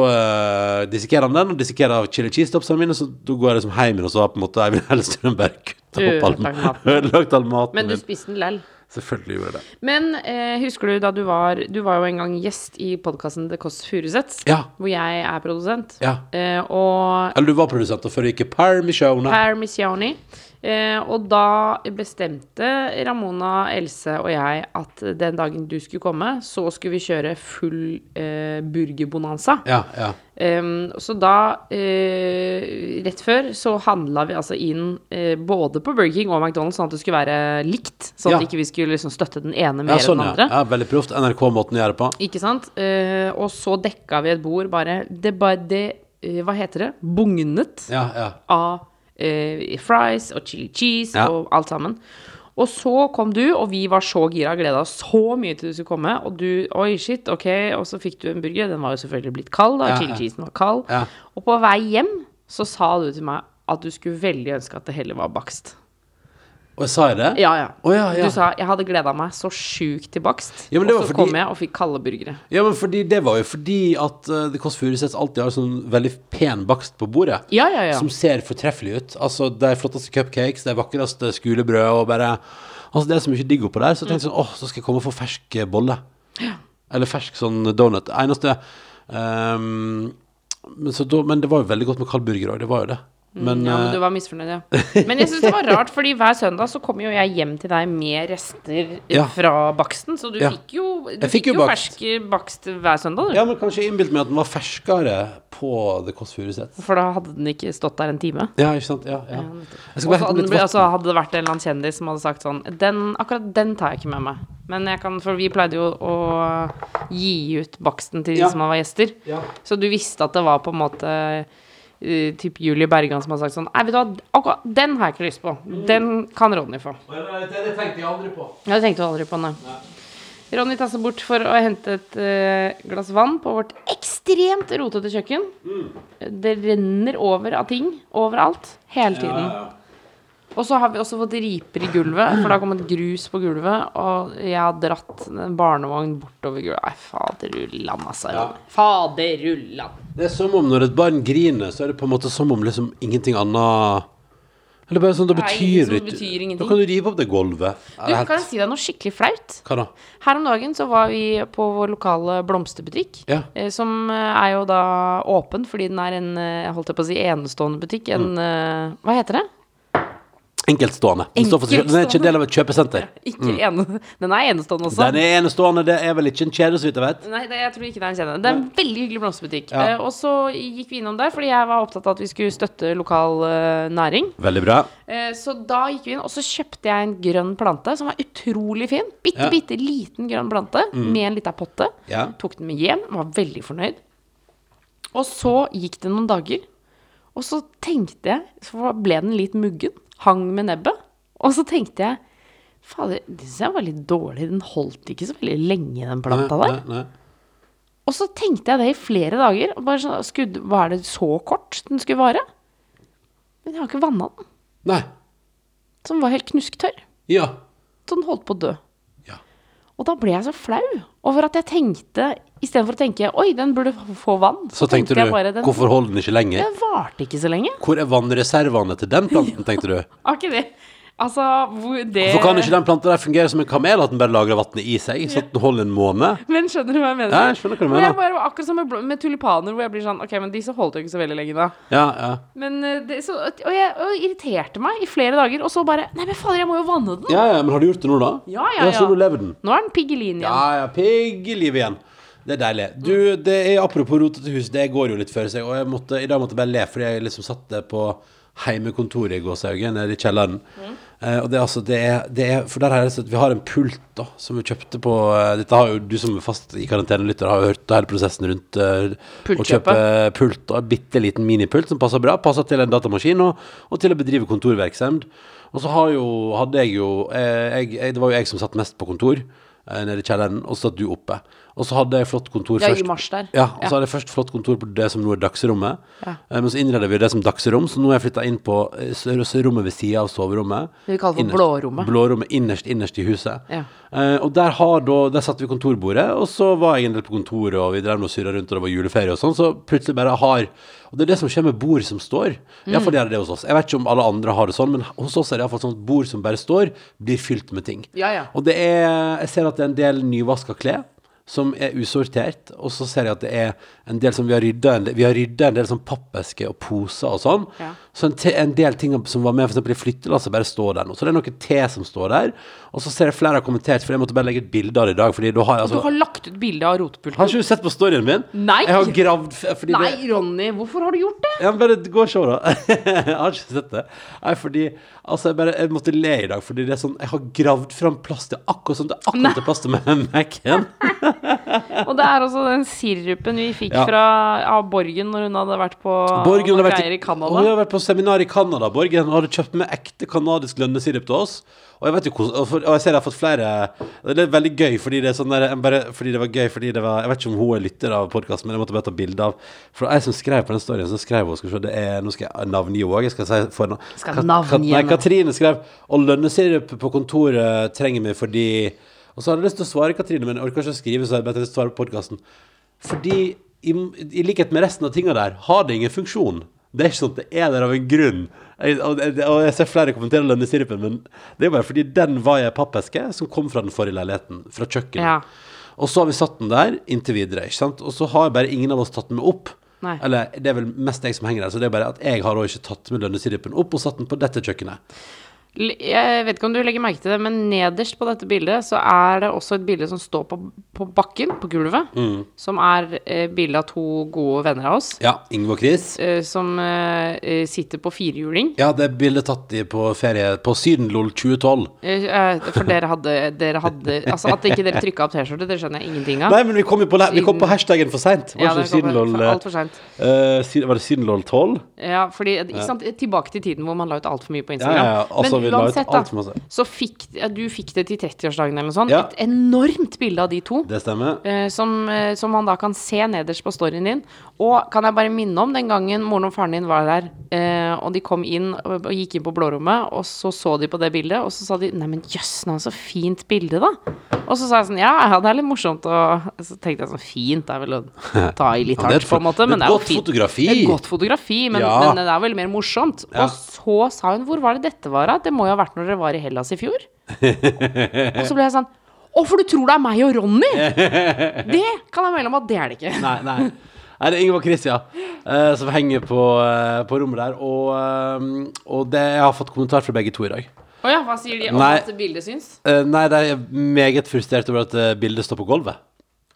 S3: eh, dissekerer han den, og dissekerer chili cheese-topsene mine, så da går jeg liksom hjem igjen, og så har på en måte Eivind Hellstrøm bare kutta opp
S4: Ødelagt
S3: all
S4: maten.
S3: maten. Ødelagt all maten
S4: Men du
S3: min.
S4: spiste den lell.
S3: Selvfølgelig gjorde jeg det.
S4: Men eh, husker du da du var Du var jo en gang gjest i podkasten The Kåss Furuseths,
S3: Ja.
S4: hvor jeg er produsent.
S3: Ja.
S4: Eh, og
S3: Eller du var produsent, og før du gikk i Parmigiana.
S4: Per Missioni. Eh, og da bestemte Ramona, Else og jeg at den dagen du skulle komme, så skulle vi kjøre full eh, burgerbonanza.
S3: Ja, ja.
S4: Ehm, så da, eh, rett før, så handla vi altså inn eh, både på Burger King og McDonald's, sånn at det skulle være likt. Sånn at
S3: Ja.
S4: ikke vi skulle liksom støtte den ene
S3: Ja,
S4: mer
S3: sånn,
S4: enn
S3: ja.
S4: den andre.
S3: ja. Veldig proft. NRK-måten å gjøre det på.
S4: Ikke sant? Eh, og så dekka vi et bord bare Det, bare, det eh, Hva heter det? Bugnet
S3: Ja, ja.
S4: av eh, fries og chili cheese
S3: Ja.
S4: og alt sammen. Og så kom du, og vi var så gira og gleda oss så mye til du skulle komme. Og du Oi, shit, ok. Og så fikk du en burger. Den var jo selvfølgelig blitt kald, da.
S3: Ja,
S4: chili
S3: ja.
S4: cheesen var kald.
S3: Ja.
S4: Og på vei hjem så sa du til meg at du skulle veldig ønske at det heller var bakst.
S3: Og jeg sa jeg det?
S4: Ja, ja.
S3: Å, ja, ja.
S4: Du sa 'jeg hadde gleda meg så sjukt til bakst',
S3: Ja, men det
S4: og
S3: var
S4: så
S3: fordi-
S4: kom jeg og fikk kalde burgere.
S3: Ja, men fordi Det var jo fordi at eh, The Kåss Furuseths alltid har sånn veldig pen bakst på bordet.
S4: Ja, ja, ja.
S3: Som ser fortreffelig ut. Altså, De flotteste cupcakes, de vakreste skulebrød og bare Altså, Det er så mye digg oppå der, så jeg tenkte sånn åh, så skal jeg komme og få fersk eh, bolle. Eller fersk sånn donut. Eneste ehm, men, så da, men det var jo veldig godt med kald burger òg, det var jo det. Men,
S4: Mm, Ja, men
S3: eh,
S4: du var misfornøyd, ja. Men jeg syns det
S3: (laughs)
S4: var rart, fordi hver søndag så kommer jo jeg hjem til deg med rester
S3: Ja.
S4: fra baksten, så du
S3: Ja.
S4: fikk jo, du
S3: Jeg
S4: fikk jo,
S3: bakst.
S4: fersk bakst hver søndag, du.
S3: ja, men kanskje innbilt meg at den var ferskere på The Kåss Furuseths.
S4: For da hadde den ikke stått der en time.
S3: Ja, ikke sant? Ja, ja. Jeg skal bare hente
S4: Og så hadde,
S3: litt
S4: den blitt-
S3: vann.
S4: altså hadde det vært en eller annen kjendis som hadde sagt sånn den, Akkurat den tar jeg ikke med meg. Men jeg kan, for vi pleide jo å gi ut baksten til de
S3: Ja.
S4: som var gjester.
S3: Ja.
S4: Så du visste at det var på en måte eh, typ Julie Bergan som har sagt sånn Nei, vet du hva, akkurat den har jeg ikke lyst på. Den kan Ronny få.
S3: Det tenkte jeg aldri på.
S4: Ja, det tenkte du aldri på, nei. Ronny tasser bort for å hente et eh, glass vann på vårt ekstremt rotete kjøkken.
S3: Mm.
S4: Det renner over av ting overalt, hele tiden. Og så har vi også fått riper i gulvet, for det har kommet grus på gulvet. Og jeg har dratt en barnevogn bortover gulvet. Nei, faderullan, altså.
S3: Ja.
S4: Ronny. Faderullan.
S3: Det er som om når et barn griner, så er det på en måte som om liksom ingenting annet Eller bare sånn, det
S4: Nei,
S3: betyr
S4: som
S3: litt
S4: betyr ingenting.
S3: Da kan du rive opp det gulvet.
S4: Du,
S3: Eller helt-
S4: kan jeg si deg noe skikkelig flaut?
S3: Hva da?
S4: Her om dagen så var vi på vår lokale blomsterbutikk,
S3: Ja.
S4: eh, som eh, er jo da åpen fordi den er en eh, jeg holdt jeg på å si, enestående butikk. En
S3: Mm.
S4: eh, Hva heter det?
S3: Enkeltstående. Den, står for seg selv. den er ikke en del av et kjøpesenter.
S4: Ikke ene, (laughs) den er enestående også.
S3: Den Mm. er enestående, det er vel ikke en kjede, så vidt jeg vet.
S4: Nei, det, jeg tror ikke det er en kjede. Det er en veldig hyggelig blomsterbutikk. Eh, og så gikk vi innom der fordi jeg var opptatt av at vi skulle støtte lokal eh, næring.
S3: Veldig bra.
S4: Eh, Så da gikk vi inn, og så kjøpte jeg en grønn plante som var utrolig fin. Bitte,
S3: Ja. Mm.
S4: bitte liten grønn plante med en lita potte.
S3: Ja.
S4: Tok den med hjem, var veldig fornøyd. Og så gikk det noen dager, og så tenkte jeg, så ble den litt muggen, hang med nebbet. Og så tenkte jeg, fader, det synes jeg var litt dårlig, den holdt ikke så veldig lenge, den planta der.
S3: Nei, nei.
S4: Og så tenkte jeg det i flere dager. og Bare sånn, skudd, var det så kort den skulle vare? Men jeg har ikke vanna den,
S3: nei.
S4: så den var helt knusktørr.
S3: Ja.
S4: Så den holdt på å dø.
S3: Ja.
S4: Og da ble jeg så flau over at jeg tenkte Istedenfor å tenke oi, den burde få vann,
S3: Så tenkte du,
S4: jeg bare den,
S3: hvorfor holder den ikke lenger?
S4: Den varte ikke så lenge.
S3: Hvor er vannreservene til den planten, tenkte du?
S4: Har ikke det Altså, hvor det
S3: Hvorfor kan ikke den planta der fungere som en kamel, at den bare lagrer vannet i seg, så at den holder en måned?
S4: Men skjønner du hva jeg mener?
S3: Ja, jeg skjønner hva du
S4: Og
S3: mener.
S4: jeg bare, akkurat som med, blå- med tulipaner, hvor jeg blir sånn Ok, men disse holdt jo ikke så veldig lenge, da.
S3: Ja, ja.
S4: Men eh, det, så, og jeg og irriterte meg i flere dager, og så bare Nei, men fader, jeg må jo vanne den!
S3: Ja, ja, men har du gjort det nå, da?
S4: Ja, ja, ja.
S3: ja så nå lever den.
S4: Nå er den piggelin igjen.
S3: Ja, ja, pigg i livet igjen. Det er deilig. Du, det er apropos rotete hus, det går jo litt før seg, og jeg måtte, i dag måtte jeg bare le, fordi jeg liksom satt det på heimekontoret i gåsehaugen, nede i kjelleren.
S4: Mm.
S3: Eh, og det er altså, det er, det er for der er det sånn at vi har en pult da, som vi kjøpte på, eh, dette har jo du som er fast i karantenelytter har jo hørt hele prosessen rundt eh, å
S4: Pultkjøpet.
S3: kjøpe eh, pult, og en bitte liten minipult som passer bra, passer til en datamaskin og, og til å bedrive kontorvirksomhet. Og så har jo, hadde jeg jo eh, jeg, jeg, Det var jo jeg som satt mest på kontor eh, nede i kjelleren, og så satt du oppe. Og så hadde jeg flott kontor
S4: Ja, i
S3: først.
S4: mars der.
S3: Ja, og
S4: Ja.
S3: så hadde jeg først flott kontor på det som nå er dagsrommet. Eh, Men så innreder vi det som dagsrom, så nå har jeg flytta inn på eh, s- rommet ved sida av soverommet.
S4: Det vi kaller for
S3: Innerst-
S4: blårommet.
S3: Blårommet innerst, innerst i huset.
S4: Ja.
S3: Eh, og der, har da, der satte vi kontorbordet, og så var jeg en del på kontoret, og vi drev og surra rundt, og det var juleferie og sånn, så plutselig bare har Og det er det som skjer med bord som står.
S4: Mm.
S3: Iallfall gjør det det hos oss. Jeg vet ikke om alle andre har det sånn, men hos oss er det iallfall sånn at bord som bare står, blir fylt med ting.
S4: Ja, ja.
S3: Og det er Jeg ser at det er en del nyvaska klær som er usortert, og så ser jeg at det er en del som vi har rydda en, del- vi har ryddet en del sånn pappesker og poser og sånn.
S4: Ja.
S3: Så en, te, en del ting som var med for eksempel i flyttelasset, bare står der nå. Så det er noe te som står der. Og så ser jeg flere har kommentert, for jeg måtte bare legge et bilde av det i dag. Fordi da har jeg
S4: Du
S3: altså
S4: har lagt ut bilde av
S3: Har
S4: rotepulten.
S3: ikke du sett på storyen min?
S4: Nei!
S3: Jeg har gravd f- fordi
S4: Nei,
S3: det
S4: Ronny, hvorfor har du gjort det?
S3: ja, men bare gå og se, da. (laughs) jeg har ikke sett det. Nei, fordi Altså, jeg bare Jeg måtte le i dag, fordi det er sånn Jeg har gravd fram plass til akkurat sånn. Det er akkurat det plass til med Mac-en.
S4: (laughs) Og det er også den sirupen vi fikk
S3: Ja.
S4: fra av Borgen når hun hadde vært på
S3: Borgen
S4: noen
S3: hadde vært,
S4: greier i Canada.
S3: Hun hadde vært på seminar i Canada, Borgen. Og hadde kjøpt med ekte kanadisk lønnesirup til oss. Og jeg, vet jo hvordan, og for- og jeg ser jeg har fått flere Det er veldig gøy, fordi det er sånn der, jeg bare, fordi det var gøy fordi det var Jeg vet ikke om hun er lytter av podkasten, men jeg måtte bare ta bilde av For jeg som skrev på den storyen, så skrev hun skal vi se, det er, Nå skal jeg navngi henne òg. Jeg skal si for navn.
S4: Skal
S3: Kat-
S4: navngi
S3: Kat- Nei,
S4: henne.
S3: Katrine skrev Og lønnesirup på kontoret trenger vi fordi Og så hadde jeg lyst til å svare Katrine, men jeg orker ikke å skrive, så jeg har bedt henne svare på podkasten. Fordi i, i likhet med resten av tinga der, har det ingen funksjon. Det er ikke sånn at det er der av en grunn. Jeg, og, og- og jeg ser flere kommentere lønnesirupen, men det er bare fordi den var i ei pappeske som kom fra den forrige leiligheten, fra kjøkkenet.
S4: Ja.
S3: Og så har vi satt den der inntil videre, ikke sant? Og så har bare ingen av oss tatt den med opp.
S4: Nei.
S3: Eller det er vel mest jeg som henger der, så det er bare at jeg har da ikke tatt med lønnesirupen opp og satt den på dette kjøkkenet.
S4: l- Jeg vet ikke om du legger merke til det, men nederst på dette bildet så er det også et bilde som står på, på bakken, på gulvet,
S3: Mm.
S4: som er eh, bilde av to gode venner av oss.
S3: Ja, Ingve og Chris.
S4: eh, Som eh, eh, sitter på firhjuling.
S3: Ja, det er bildet tatt i på ferie på Sydenlol 2012.
S4: Eh, eh, For dere hadde, dere hadde Altså at ikke dere trykka opp T-skjorte, det skjønner jeg ingenting av.
S3: Nei, men vi kom, jo på, le- vi kom på hashtaggen for seint.
S4: Ja,
S3: Var, ikke
S4: det kom
S3: Sydenlol,
S4: for- for-
S3: eh,
S4: alt for sent.
S3: eh, Syd- var det Sydenlol 12?
S4: Ja, fordi, eh, ikke sant, tilbake til tiden hvor man la ut altfor mye på Instagram.
S3: Ja, ja, ja. Altså, vi
S4: Men
S3: la ut
S4: uansett, da,
S3: alt for masse.
S4: så fikk ja, du fikk det til 30-årsdagen eller noe sånt.
S3: Ja.
S4: Et enormt bilde av de to.
S3: Det stemmer.
S4: eh, Som, eh, som man da kan se nederst på storyen din. Og kan jeg bare minne om den gangen moren og faren din var der, eh, og de kom inn og og gikk inn på blårommet, og så så de på det bildet, og så sa de 'neimen jøssen, så fint bilde', da. Og så sa jeg sånn 'ja, ja, det er litt morsomt', og så tenkte jeg sånn 'fint', det er vel å ta i litt
S3: (laughs) Ja, det er
S4: hardt,
S3: et
S4: på en
S3: fo-
S4: måte,
S3: det
S4: men det
S3: er
S4: er jo
S3: godt
S4: fint.
S3: fotografi.
S4: Det er godt fotografi, men,
S3: Ja.
S4: men det er vel mer morsomt.
S3: Ja.
S4: Og så sa hun 'hvor var det dette var', da? Det må jo ha vært når dere var i Hellas i fjor? og så ble jeg sånn å, for du tror det er meg og
S3: (laughs)
S4: Ronny? Det kan jeg melde om at det er det ikke.
S3: Nei, nei. Nei, det er Ingvar Chris, ja. eh, som henger på, eh, på rommet der. Og, eh, og det, jeg har fått kommentar fra begge to i dag.
S4: Å ja, hva sier de om
S3: Nei.
S4: at bildet syns?
S3: Eh, nei, de er meget frustrert over at eh, bildet står på gulvet.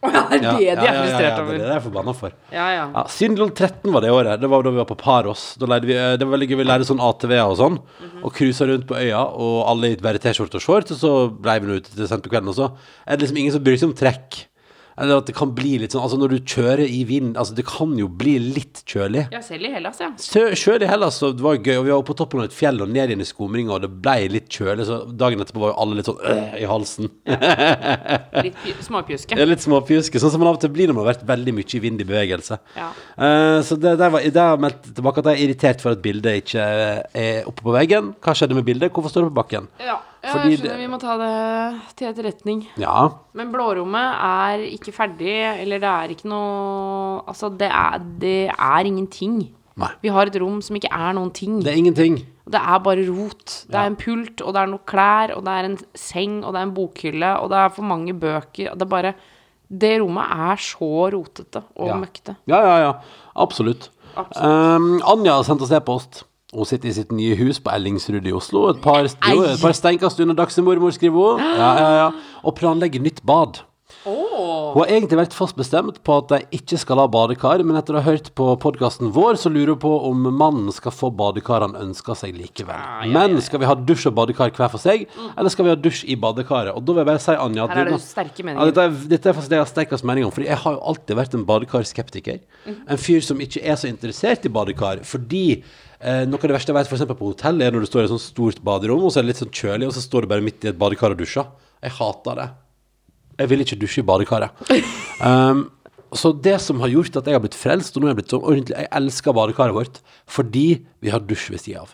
S4: Å (laughs) ja, det er det de er
S3: ja, ja,
S4: frustrert
S3: det er
S4: over.
S3: det jeg er forbanna for.
S4: Ja, ja.
S3: Ja, Syndlol 13 var det året. Det var da vi var på Paros. Da leide vi, eh, det var veldig gøy, vi leide sånn ATV-er og sånn. Og cruisa rundt på øya, og alle i bare T-skjorte og shorts. Og så blei vi nå ute til sent på kvelden, og så er det liksom ingen som bryr seg om trekk. Eller at det kan bli litt sånn Altså, når du kjører i vind Altså, det kan jo bli litt kjølig.
S4: Ja, selv i Hellas, ja.
S3: Sjø- Sjøl i Hellas så det var gøy, og vi var oppe på toppen av et fjell og ned igjen i skumringa, og det blei litt kjølig, så dagen etterpå var jo alle litt sånn øh, i halsen.
S4: Litt pj- småpjuske.
S3: Det er litt småpjuske, sånn som man av og til blir når man har vært veldig mye i vind i bevegelse.
S4: Ja.
S3: Eh, så det, der var, der har jeg meldt tilbake at jeg er irritert for at bildet ikke er oppe på veggen. Hva skjedde med bildet? Hvorfor står det på bakken?
S4: Ja, jeg
S3: Fordi det-
S4: skjønner vi må ta det til etterretning.
S3: Ja,
S4: Men blårommet er ikke ferdig, eller det er ikke noe Altså, det er, det er ingenting.
S3: Nei.
S4: Vi har et rom som ikke er noen ting.
S3: det er ingenting.
S4: Det er bare rot. Det er en pult, og det er noe klær, og det er en seng, og det er en bokhylle, og det er for mange bøker. og Det er bare Det rommet er så rotete og
S3: Ja.
S4: møkkete.
S3: Ja, ja, ja. Absolutt. Um, Anja har sendt oss e-post. Hun sitter i sitt nye hus på Ellingsrud i Oslo. Et par, jo, et par steinkast under dagsemormor, skriver hun. Ja, ja, ja. Og planlegger nytt bad. Hun har egentlig vært fast bestemt på at de ikke skal ha badekar, men etter å ha hørt på podkasten vår, så lurer hun på om mannen skal få badekar han ønsker seg likevel.
S4: Ah,
S3: Men skal vi ha dusj og badekar hver for seg, eller skal vi ha dusj i badekaret? Og da vil jeg bare si, Anja at
S4: Her er det
S3: denne-
S4: sterke meninger.
S3: Ja, dette, er, dette er faktisk det jeg har sterkest mening om, Fordi jeg har jo alltid vært en badekarskeptiker. En fyr som ikke er så interessert i badekar, fordi eh, noe av det verste jeg vet, for eksempel på hotell, er når du står i et sånt stort baderom, og så er det litt sånn kjølig, og så står du bare midt i et badekar og dusjer. Jeg hater det. Jeg vil ikke dusje i badekaret.
S4: (laughs)
S3: Um, så det som har gjort at jeg har blitt frelst, og nå er jeg blitt sånn ordentlig Jeg elsker badekaret vårt fordi vi har dusj ved sida av.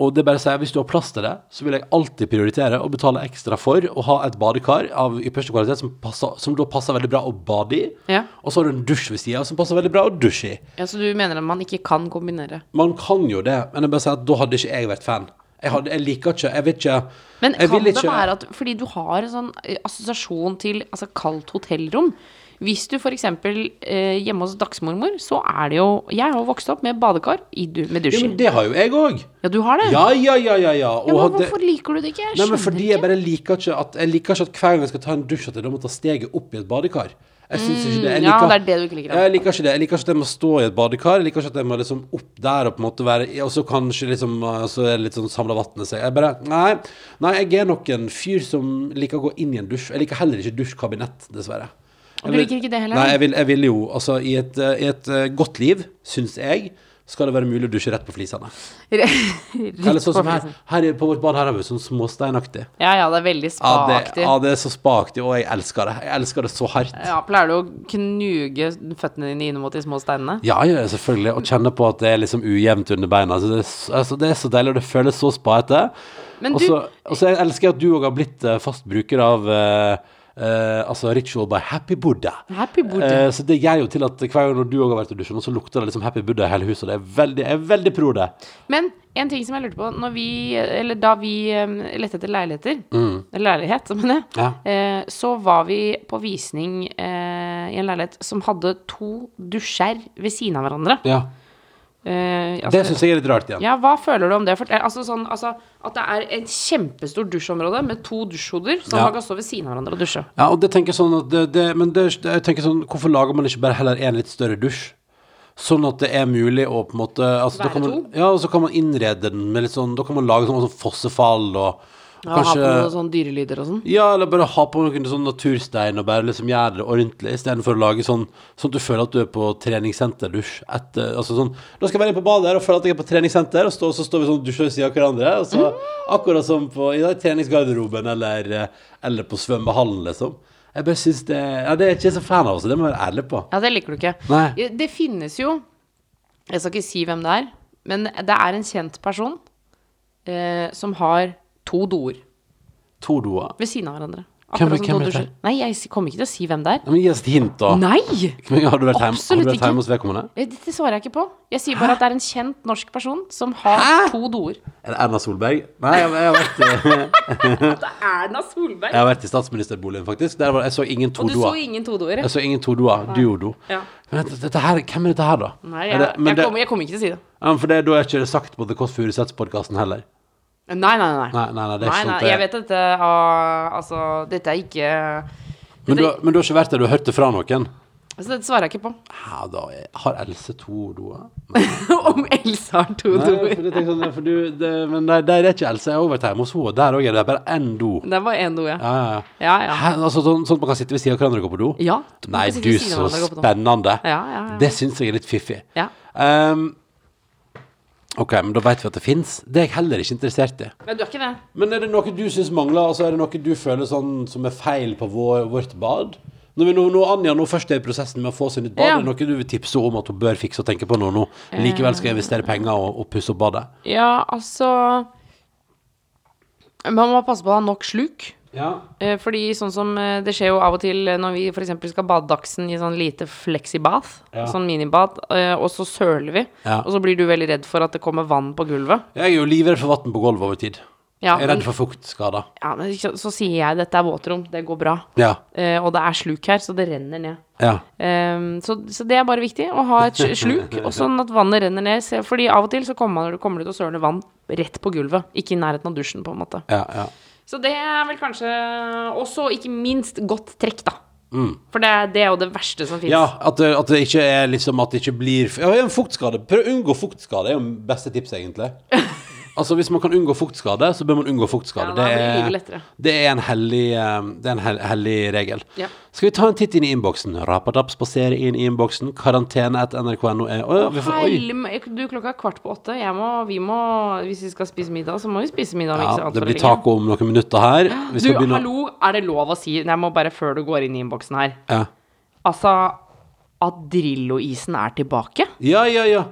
S3: Og det er bare å si, Hvis du har plass til det, så vil jeg alltid prioritere å betale ekstra for å ha et badekar av ypperste kvalitet som, passer, som da passer veldig bra å bade i.
S4: Ja.
S3: Og så har du en dusj ved sida av som passer veldig bra å dusje i.
S4: Ja, Så du mener at man ikke kan kombinere?
S3: Man kan jo det, men jeg bare sier at da hadde ikke jeg vært fan. Jeg, hadde, jeg liker ikke Jeg vil ikke
S4: Men
S3: jeg
S4: kan
S3: vil
S4: det være at Fordi du har en sånn eh, assosiasjon til altså, kaldt hotellrom. Hvis du f.eks. Eh, hjemme hos dagsmormor, så er det jo Jeg har jo vokst opp med badekar i, du- med
S3: ja,
S4: dusj i.
S3: men Det har jo jeg òg.
S4: Ja, du har det?
S3: Ja, ja, ja, ja. ja.
S4: Ja,
S3: Og
S4: men
S3: hadde-
S4: hvorfor liker du det ikke?
S3: Nei,
S4: Jeg
S3: men
S4: skjønner
S3: fordi
S4: ikke.
S3: jeg bare liker ikke at Jeg liker ikke at hver gang jeg skal ta en dusj At jeg da må ta steget opp i et badekar Jeg synes ikke det jeg
S4: Mm, ja,
S3: liker,
S4: det er det du ikke liker, da.
S3: Jeg liker ikke det Jeg liker ikke at jeg må stå i et badekar Jeg liker ikke at jeg må liksom opp der Og på en måte være Og så kanskje liksom eh, Så er det litt sånn samlet vattnet seg Jeg bare Nei Nei, jeg er nok en fyr som liker å gå inn i en dusj Jeg liker heller ikke dusjkabinett, dessverre
S4: Og du
S3: Jeg
S4: liker ikke det heller?
S3: Nei, jeg vil, jeg vil jo Altså, i et, eh, i et eh, godt liv Synes jeg Skal det være mulig å dusje rett på flisene
S4: (laughs) Rett
S3: Eller sånn
S4: på
S3: som her,
S4: fjeset.
S3: her i- På vårt bad her har vi sånn småsteinaktig
S4: Ja, ja, det er veldig
S3: Ja, det,
S4: spaaktig.
S3: ja, det er så spaktig, og jeg elsker det. Jeg elsker det så hardt.
S4: Ja, pleier du å knuge føttene dine inn mot de små steinene?
S3: Ja, ja, selvfølgelig. Og kjenne på at det er liksom ujevnt under beina. Så det, er, s- altså, det er så deilig, og det føles så spaete.
S4: Men
S3: Og så og så jeg elsker jeg at du òg har blitt eh, fast bruker av eh, eh, altså Ritual by Happy Buddha.
S4: Happy Buddha.
S3: Eh, så det gjør jo til at hver gang når du òg har vært og dusja, så lukter det liksom Happy Buddha i hele huset. og Det er veldig, jeg er veldig pro det.
S4: Men en ting som jeg lurte på når vi, eller Da vi eh, lette etter leiligheter, eller leilighet, som mener jeg,
S3: Mm. Ja.
S4: eh, så var vi på visning eh, i en leilighet som hadde to dusjer ved siden av hverandre.
S3: Ja.
S4: eh, altså,
S3: Det syns jeg er litt rart igjen.
S4: Ja, hva føler du om det? Fortell, altså, sånn, altså, at det er et kjempestort dusjområde med to dusjhoder som
S3: Ja.
S4: man kan stå ved siden av hverandre og dusje.
S3: Ja, og det tenker jeg sånn at det, det, Men det, jeg tenker sånn, hvorfor lager man ikke bare heller en litt større dusj? Sånn at det er mulig å på en måte altså, da
S4: Være
S3: kan man,
S4: to?
S3: Ja, og så kan man innrede den med litt sånn Da kan man lage sånn, sånn fossefall og, og
S4: Ja, Ha på noen sånne dyrelyder og sånn.
S3: Ja, eller bare ha på noen sånn naturstein og bare liksom gjøre det ordentlig, istedenfor å lage sånn sånn at du føler at du er på treningssenterdusj etter Altså sånn Da skal jeg være inne på badet her og føle at jeg er på treningssenter, og stå, så står vi sånn og dusjer ved siden av hverandre. Og så, Akkurat som på i dag, treningsgarderoben eller, eller på svømmehallen, liksom. Jeg bare syns det Ja, det er jeg ikke så fan av, så det må jeg være ærlig på.
S4: Ja, det liker du ikke.
S3: Nei.
S4: Det finnes jo Jeg skal ikke si hvem det er, men det er en kjent person eh, som har to doer
S3: To doer.
S4: ved siden av hverandre.
S3: Hvem-
S4: Akkurat
S3: hvem
S4: som to
S3: er
S4: dusjer.
S3: det?
S4: Nei, jeg s- kommer ikke til å si hvem det er.
S3: Ja, men gi oss et hint, da.
S4: Nei!
S3: Har du vært hjemme, har
S4: Absolutt
S3: du vært
S4: ikke.
S3: hjemme hos vedkommende?
S4: Eh, Dette svarer jeg ikke på. Jeg sier bare at det er en kjent norsk person som har to doer.
S3: Er det Erna Solberg? Nei, jeg, jeg, har vært, (laughs)
S4: Erna Solberg.
S3: jeg har vært i statsministerboligen, faktisk. Der var, jeg så ingen to
S4: Og du så
S3: doer.
S4: ingen todoer? ja.
S3: Jeg så Altså, ingen todoer, duodo.
S4: Ja.
S3: Men dette, dette her, hvem er dette her, da?
S4: Nei,
S3: Er
S4: jeg,
S3: det,
S4: jeg,
S3: men det,
S4: kommer, jeg kommer ikke til å si det.
S3: ja, men for det, da er ikke det sagt på The Kåss Furuseths-podkasten heller.
S4: Nei, nei, nei.
S3: Nei, nei, nei, det er ikke sånn sant. det-
S4: Jeg vet at dette ah, Altså, dette er ikke
S3: men, du, har- men du har ikke vært der, du har hørt det fra noen?
S4: altså, Dette svarer jeg ikke på.
S3: Ja, da er, har Else to
S4: (laughs)
S3: doer?
S4: Om Else har to
S3: Nei, for,
S4: doer.
S3: det, tenker jeg sånn, for du, det, men nei, det er ikke Else. Jeg har også vært hjemme hos henne, og der òg er det bare én do.
S4: Det var én do, ja.
S3: Ja, ja.
S4: Ja, ja.
S3: Hæ, altså, sånn, sånn at man kan sitte ved siden av hverandre og gå på do?
S4: Ja, du kan
S3: Nei,
S4: sitte ved
S3: du,
S4: siden av
S3: så
S4: hverandre og gå på do.
S3: spennende.
S4: Ja, ja, ja.
S3: Det syns jeg er litt fiffig.
S4: Ja.
S3: Ehm, ok, men da vet vi at det fins. Det er jeg heller ikke interessert i.
S4: Men du er ikke det?
S3: Men er det noe du syns mangler? Altså, er det noe du føler sånn som er feil på vår, vårt bad? Når, vi, nå- nå Anja nå først er i prosessen med å få seg nytt bad,
S4: Ja.
S3: er det noe du vil tipse om at hun bør fikse og tenke på nå? nå? Likevel skal jeg investere penger og, og pusse opp badet?
S4: Ja, altså Man må passe på å ha nok sluk.
S3: Ja.
S4: Eh, Fordi sånn som eh, det skjer jo av og til eh, når vi f.eks. skal bade dagsen i sånn lite fleksibath,
S3: Ja.
S4: sånn minibad, eh, og så søler vi,
S3: Ja.
S4: og så blir du veldig redd for at det kommer vann på gulvet.
S3: Jeg er jo livredd for vann på gulvet over tid.
S4: Ja,
S3: jeg er
S4: men-
S3: redd for fuktskader.
S4: Ja, men ikke sant, Så sier jeg dette er våtrom, det går bra.
S3: Ja.
S4: Eh, Og det er sluk her, så det renner ned.
S3: ja.
S4: Ehm, så, så det er bare viktig å ha et sj- sluk, og sånn at vannet renner ned. Se- Fordi av og til så kommer, man, kommer det til å søle vann rett på gulvet, ikke i nærheten av dusjen, på en måte.
S3: ja, ja.
S4: Så det er vel kanskje også, ikke minst, godt trekk, da. For det, er- det er jo det verste som fins.
S3: Mm. Ja, at det, at det ikke er liksom At det ikke blir Ja, en fuktskade. Prøv å unngå fuktskade, er jo det beste tipset,
S4: (laughs)
S3: egentlig. Altså, hvis man kan unngå fuktskade, så bør man unngå fuktskade.
S4: Ja, da blir
S3: er-
S4: livet lettere.
S3: det er en hellig, eh, det er en hel, hellig regel.
S4: Ja.
S3: Skal vi ta en titt inn i innboksen? Rapadapp spaserer inn i innboksen. Karantene etter nrk.no er E. Å, ja, vi får Oi!
S4: Helm- Du, klokka er kvart på åtte. Jeg må, vi må, hvis vi skal spise middag, så må vi spise middag. om ikke så
S3: Ja,
S4: alt
S3: det
S4: for
S3: blir
S4: lenge.
S3: taco om noen minutter her. Vi
S4: Du,
S3: skal begynne å-
S4: hallo, er det lov å si Nei, Jeg må bare før du går inn i innboksen her.
S3: Ja.
S4: Altså, Adrillo-isen er tilbake?
S3: ja, ja, ja.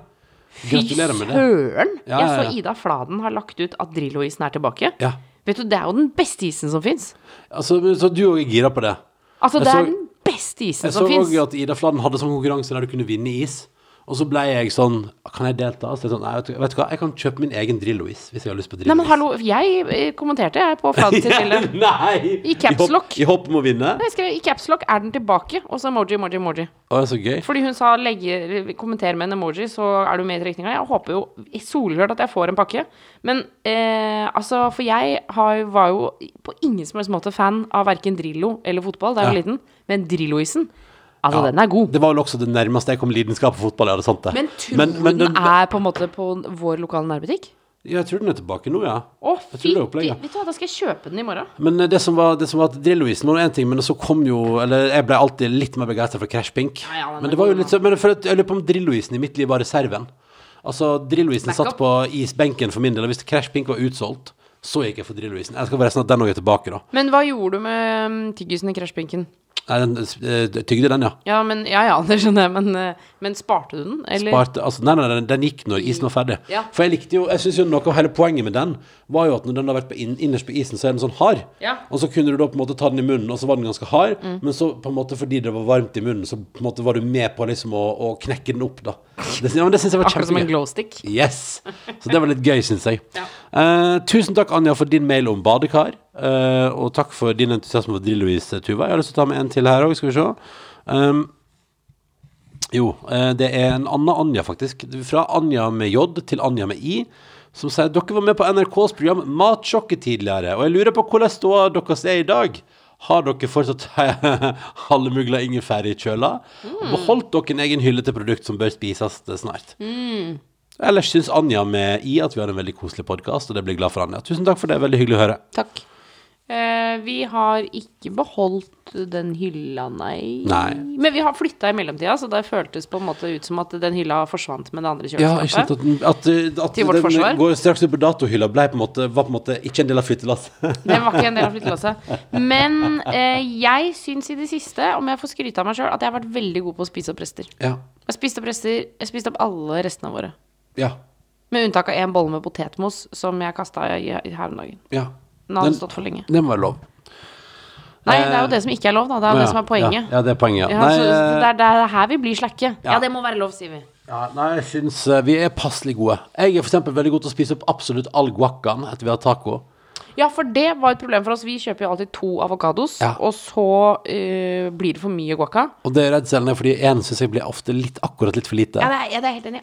S4: Fy
S3: Gratulerer med det.
S4: søren!
S3: Ja,
S4: Jeg
S3: ja, ja.
S4: så Ida Fladen har lagt ut at Drillo-isen er tilbake.
S3: Ja.
S4: Vet du, det er jo den beste isen som fins.
S3: Altså, så du òg er gira på det?
S4: Altså,
S3: Jeg
S4: det
S3: så-
S4: er den beste isen
S3: Jeg så
S4: som fins.
S3: òg at Ida Fladen hadde sånn konkurranse der du kunne vinne is. Og så ble jeg sånn Kan jeg delta? Så jeg sånn, Nei, vet du, vet du hva, jeg kan kjøpe min egen Drillo-is hvis jeg har lyst på Drillo-is.
S4: Nei, men hallo, jeg eh, kommenterte jeg på
S3: (laughs)
S4: Fladen sitt bilde.
S3: Nei!
S4: I caps
S3: hopp-
S4: lock.
S3: I hopp om å vinne?
S4: Jeg skrev i caps lock er den tilbake, og så emoji, emoji, emoji.
S3: Å, det er så gøy.
S4: Fordi hun sa legge, kommenter med en emoji, så er du med i trekninga. Jeg håper jo solhørt at jeg får en pakke. Men eh, altså, for jeg har, var jo på ingen som helst måte fan av verken Drillo eller fotball da jeg var
S3: Ja.
S4: liten. Men Drillo-isen, altså den er god.
S3: Det var vel også det nærmeste jeg kom lidenskap for fotball. Ja, det er sant, det.
S4: Men tror du den er på en måte på vår lokale nærbutikk?
S3: Ja, jeg tror den er tilbake nå, ja.
S4: Å,
S3: Jeg tror
S4: fy
S3: det er
S4: Vet
S3: opplegget.
S4: du hva, da skal jeg kjøpe den i morgen.
S3: Men eh, det som var, det som var at Drillo-isen var én ting, men så kom jo Eller jeg ble alltid litt mer begeistra for Crash Pink.
S4: Ja, ja, den er
S3: men det var jo
S4: god,
S3: litt så, men for at, jeg lurer på om Drillo-isen i mitt liv var reserven. Altså, Drillo-isen
S4: Backup.
S3: satt på isbenken for min del, og hvis Crash Pink var utsolgt, så gikk jeg for Drillo-isen. Jeg skal forresten at den òg er tilbake, da.
S4: Men hva gjorde du med um, tyggisen i krasjpinken?
S3: Nei, den eh, tygde den, ja.
S4: Ja, men, ja, ja, (laughs) det skjønner jeg, men, eh, men sparte du den? Eller?
S3: Sparte, altså, nei, nei, den, den gikk når isen var ferdig.
S4: Ja.
S3: For jeg likte jo Jeg synes jo noe av hele poenget med den var jo at når den har vært på inn, innerst på isen, så er den sånn hard.
S4: Ja. Mm.
S3: Og så kunne du da på en måte ta den i munnen, og så var den ganske hard. Men så på en måte fordi det var varmt i munnen, så på en måte var du med på liksom å, å knekke den opp, da. Det, ja, men det syns jeg var
S4: Akkurat som en
S3: kjempegøy.
S4: glowstick?
S3: Yes! Så det var litt gøy, syns jeg.
S4: Ja.
S3: Eh, tusen takk, Anja, for din mail om badekar. Eh, og takk for din entusiasme for Drillo-is, Tuva. Jeg har lyst til å ta med en til her òg, skal vi se. Um, Ehm, Jo, eh, det er en annen Anja, faktisk. Fra Anja med J til Anja med I. Som sier dere var med på NRKs program Matsjokket tidligere, og jeg lurer på hvordan ståa deres er i dag. Har dere fortsatt (laughs) halvmugla ingefær i kjøla? Og beholdt dere en egen hylle til produkt som bør spises eh, snart? Ellers syns Anja med I at vi har en veldig koselig podkast, og det blir jeg glad for Anja. Tusen takk for det, veldig hyggelig å høre.
S4: Takk. Eh, vi har ikke beholdt den hylla, nei.
S3: Nei.
S4: Men vi har flytta i mellomtida, så det føltes på en måte ut som at den hylla forsvant med det andre
S3: Ja, ikke sant
S4: kjøleskapet.
S3: at, den- at, eh, at
S4: Til vårt forsvar.
S3: den går straks ut på datohylla, ble på en måte, var på en måte ikke en del av flyttelasset.
S4: (laughs) det var ikke en del av flyttelasset. Men eh, jeg syns i det siste, om jeg får skryte av meg sjøl, at jeg har vært veldig god på å spise opp rester.
S3: ja.
S4: Jeg har spist opp rester, jeg spiste opp alle restene våre.
S3: Ja.
S4: Med unntak av en bolle med potetmos som jeg kasta her om dagen.
S3: Ja.
S4: Den hadde stått for lenge.
S3: Det må være lov.
S4: Nei, det er jo det som ikke er lov, da. Det er jo det som er poenget.
S3: Ja, ja det er poenget.
S4: Ja,
S3: nei,
S4: så det
S3: eh,
S4: er, det er her vi blir slakke. Ja.
S3: Ja.
S4: det må være lov, sier vi.
S3: ja, nei, jeg syns eh, vi er passelig gode. Jeg er for eksempel veldig god til å spise opp absolutt all guaccaen etter vi har taco.
S4: Ja, for det var et problem for oss. Vi kjøper jo alltid to avokados,
S3: Ja.
S4: og så eh, blir det for mye guacca.
S3: Og det er redselen er fordi én syns jeg blir ofte litt, akkurat litt for lite.
S4: Ja, det er, ja, det er helt enig.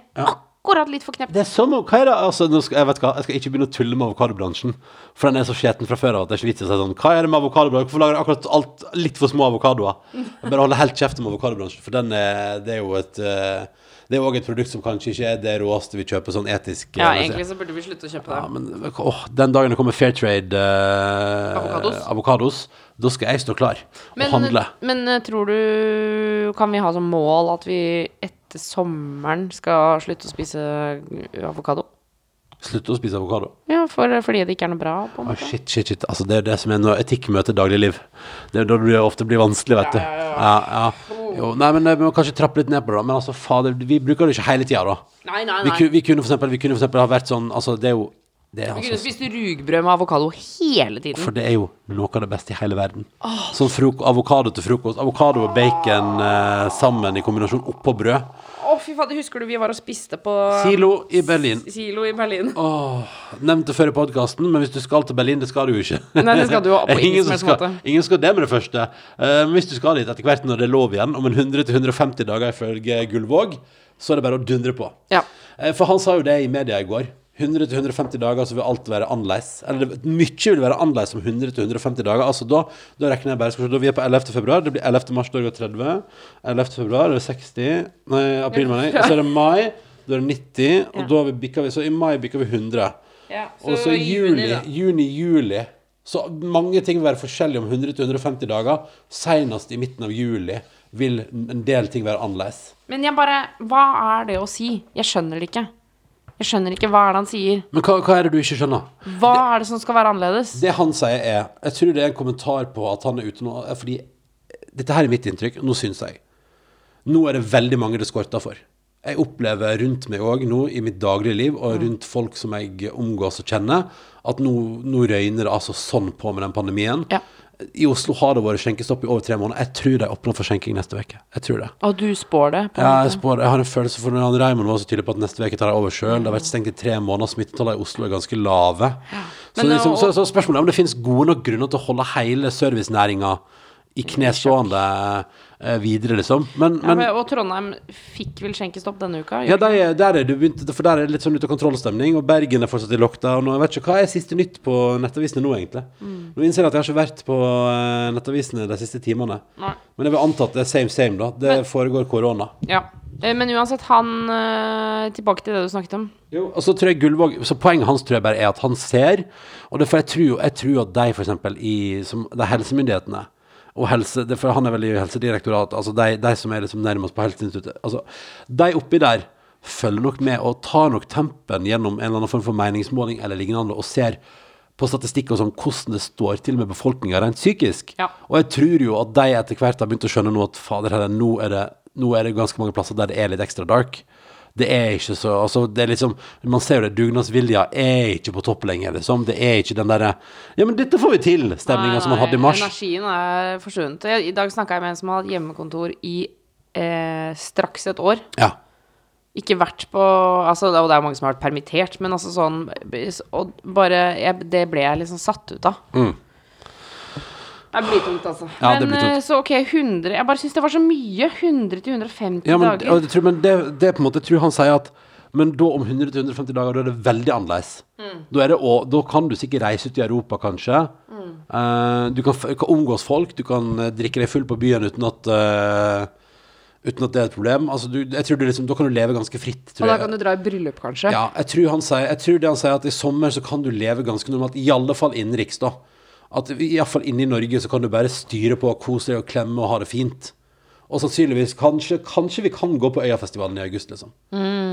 S4: Akkurat litt for knept.
S3: Det er som om, hva er det, altså, nå skal, jeg, vet hva, jeg skal ikke begynne å tulle med avokadobransjen, for den er så skjeten fra før av at det er ikke vits i å si sånn Hva er det med avokadobransjen? Hvorfor lager dere akkurat alt litt for små avokadoer? Jeg Bare holde helt kjeft om avokadobransjen, for den er, det er jo et eh, Det er jo også et produkt som kanskje ikke er det råeste vi kjøper sånn etisk. eh,
S4: Ja,
S3: messig.
S4: egentlig så burde vi slutte å kjøpe det.
S3: Ja, men åh, den dagen det kommer fair trade eh,
S4: Avokados.
S3: avokados, da skal jeg stå klar og
S4: Men,
S3: handle.
S4: men eh, tror du Kan vi ha som mål at vi etter sommeren skal slutte å spise avokado?
S3: Slutte å spise avokado.
S4: Ja, for, eh, fordi det ikke er noe bra, på en
S3: Åh,
S4: måte.
S3: shit, shit, shit. Altså, det er det som er når etikk møter dagligliv. Det er da det ofte blir vanskelig, vet du. Ja, ja, Jo, nei, men eh, vi må kanskje trappe litt ned på det, da. Men altså, fader, vi bruker det ikke hele tida, da.
S4: Nei, nei,
S3: Vi,
S4: nei.
S3: ku- vi kunne for eksempel, vi kunne for eksempel ha vært sånn Altså, det er jo det er,
S4: Vi kunne
S3: altså,
S4: spist rugbrød med avokado hele tiden.
S3: For det er jo noe av det beste i hele verden. Sånn frok avokado til frokost. Avokado og bacon eh, sammen i kombinasjon oppå brød.
S4: Å, fy fader, husker du vi var og spiste på um,
S3: Silo i Berlin.
S4: Silo i Berlin?
S3: Nevnte før i podkasten, men hvis du skal til Berlin, det skal du jo ikke.
S4: Nei, det skal du jo
S3: (laughs)
S4: på ingen
S3: ingen,
S4: som
S3: som
S4: helst
S3: skal,
S4: måte.
S3: ingen skal det med det første. Eh, Men hvis du skal dit etter hvert når det er lov igjen, om en 100-150 dager ifølge Gullvåg, så er det bare å dundre på.
S4: Ja.
S3: Eh, For han sa jo det i media i går. 100-150 dager så vil alt være annerledes. Eller det- mye vil være annerledes om 100-150 dager. Altså da, da regner jeg bare skal vi se, da vi er på 11. februar, det blir 11. mars, da er det 30. 11. februar, det er 60 Nei,
S4: (laughs)
S3: april, mener jeg. Og så er det mai, da er det 90, og da har vi bikka vi Så i mai bikker vi 100. Og så i juli, juni, juli Så mange ting vil være forskjellige om 100-150 dager. Senest i midten av juli vil en del ting være annerledes.
S4: Men jeg bare Hva er det å si? Jeg skjønner det ikke. Jeg skjønner ikke hva er det han sier.
S3: Men hva, hva er det du ikke skjønner?
S4: Hva er det som skal være annerledes?
S3: Det han sier er Jeg tror det er en kommentar på at han er ute nå Fordi dette her er mitt inntrykk Nå synes jeg Nå er det veldig mange det skorter for Jeg opplever rundt meg også nå I mitt daglige liv Og rundt folk som jeg omgås og kjenner At nå, nå røyner det altså sånn på med den pandemien
S4: Ja.
S3: I Oslo har det vært skjenkestopp i over tre måneder Jeg tror de åpner for skjenking neste veke Jeg tror det
S4: Og du spår det? På en
S3: ja, jeg,
S4: måte.
S3: spår, jeg har en følelse for han Raymond var så tydelig på at neste uke tar jeg over sjøl. Det har vært stengt i tre måneder, smittetallene i Oslo er ganske lave. Så,
S4: Men,
S3: liksom,
S4: og-
S3: så, så spørsmålet er om det finnes gode nok grunner til å holde hele servicenæringa i knestående eh, videre, liksom. Men,
S4: Ja,
S3: men
S4: men- og Trondheim fikk vel skjenkestopp denne uka?
S3: ja, der er, der er det begynt, for der er det litt sånn ute av kontrollstemning, og Bergen er fortsatt i lockdown. Og jeg vet ikke, Hva er siste nytt på nettavisene nå, egentlig?
S4: Mm.
S3: Nå innser jeg at jeg har ikke vært på eh, nettavisene de siste timene.
S4: Nei.
S3: Men jeg vil anta at det er same same, da. Det foregår korona.
S4: Ja. Eh, Men uansett, han eh, Tilbake til det du snakket om.
S3: Jo, og så tror jeg Gullvåg Så poenget hans tror jeg bare er at han ser Og det er for jeg tror, jo- jeg tror at de for eksempel i, som, Det er helsemyndighetene Og helse, det er for han er vel i helsedirektorat Altså de, de som er liksom nærmest på helseinstituttet Altså, de oppi der Følger nok med og tar nok tempen Gjennom en eller annen form for meningsmåling Eller lignende og ser på statistikk og sånn Hvordan det står til med befolkningen rent psykisk
S4: Ja.
S3: Og jeg tror jo at de etter hvert har begynt å skjønne nå At fader herre, nå er det Nå er det ganske mange plasser der det er litt ekstra dark det er ikke så altså, det er liksom, Man ser jo det, dugnadsvilja er ikke på topp lenger. Liksom. Det er ikke den derre 'Ja, men dette får vi til'-stemninga som man hadde i mars.
S4: Eh, Energien er forsvunnet. Jeg- I dag snakka jeg med en som har hatt hjemmekontor i eh, straks et år.
S3: Ja.
S4: Ikke vært på altså, det- Og det er jo mange som har vært permittert, men altså sånn Og bare jeg, Det ble jeg liksom satt ut av. Det blir tungt, altså.
S3: Mm. Ja, det
S4: men
S3: blir tungt.
S4: eh, så ok, 100 Jeg bare syns det var så mye. 100 til 150
S3: Ja, men,
S4: dager.
S3: og jeg tror, men det, det er på en måte, jeg tror han sier at Men da om 100-150 dager, da er det veldig annerledes.
S4: Mm.
S3: Da, er det, å- da kan du sikkert reise ut i Europa, kanskje.
S4: Mm.
S3: Eh, du kan, f- kan omgås folk, du kan eh, drikke deg full på byen uten at eh, Uten at det er et problem. Altså, du, jeg tror du liksom, da kan du leve ganske fritt. Tror
S4: og da
S3: jeg.
S4: kan du dra i bryllup, kanskje.
S3: Ja, jeg tror, han sier, jeg tror det han sier at i sommer så kan du leve ganske normalt, i alle fall innenriks da. At i alle fall inne i Norge så kan du bare styre på, kose deg og klemme og ha det fint. Og sannsynligvis, kanskje, kanskje vi kan gå på Øyafestivalen i august, liksom.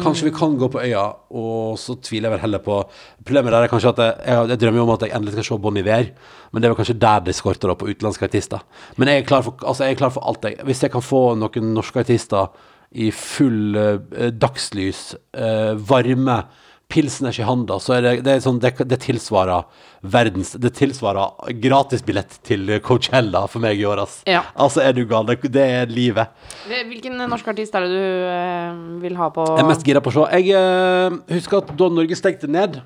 S3: Kanskje vi kan gå på Øya, og så tviler jeg vel heller på Problemet der er kanskje at jeg, jeg, jeg drømmer jo om at jeg endelig skal se Bon Iver, men det er vel kanskje der det skorter da, på utenlandske artister. Men jeg er klar for, altså, jeg er klar for alt, jeg. Hvis jeg kan få noen norske artister i full eh, dagslys, eh, varme, pilsners i handa, så er det, det, er sånn, det, det tilsvarer verdens Det tilsvarer gratisbillett til Coachella for meg i år, ass.
S4: Ja.
S3: Altså, er du gal? Det, det er livet.
S4: Hvilken norsk artist er det du eh, vil ha på
S3: Jeg er mest gira på å se. Jeg eh, husker at da Norge stengte ned,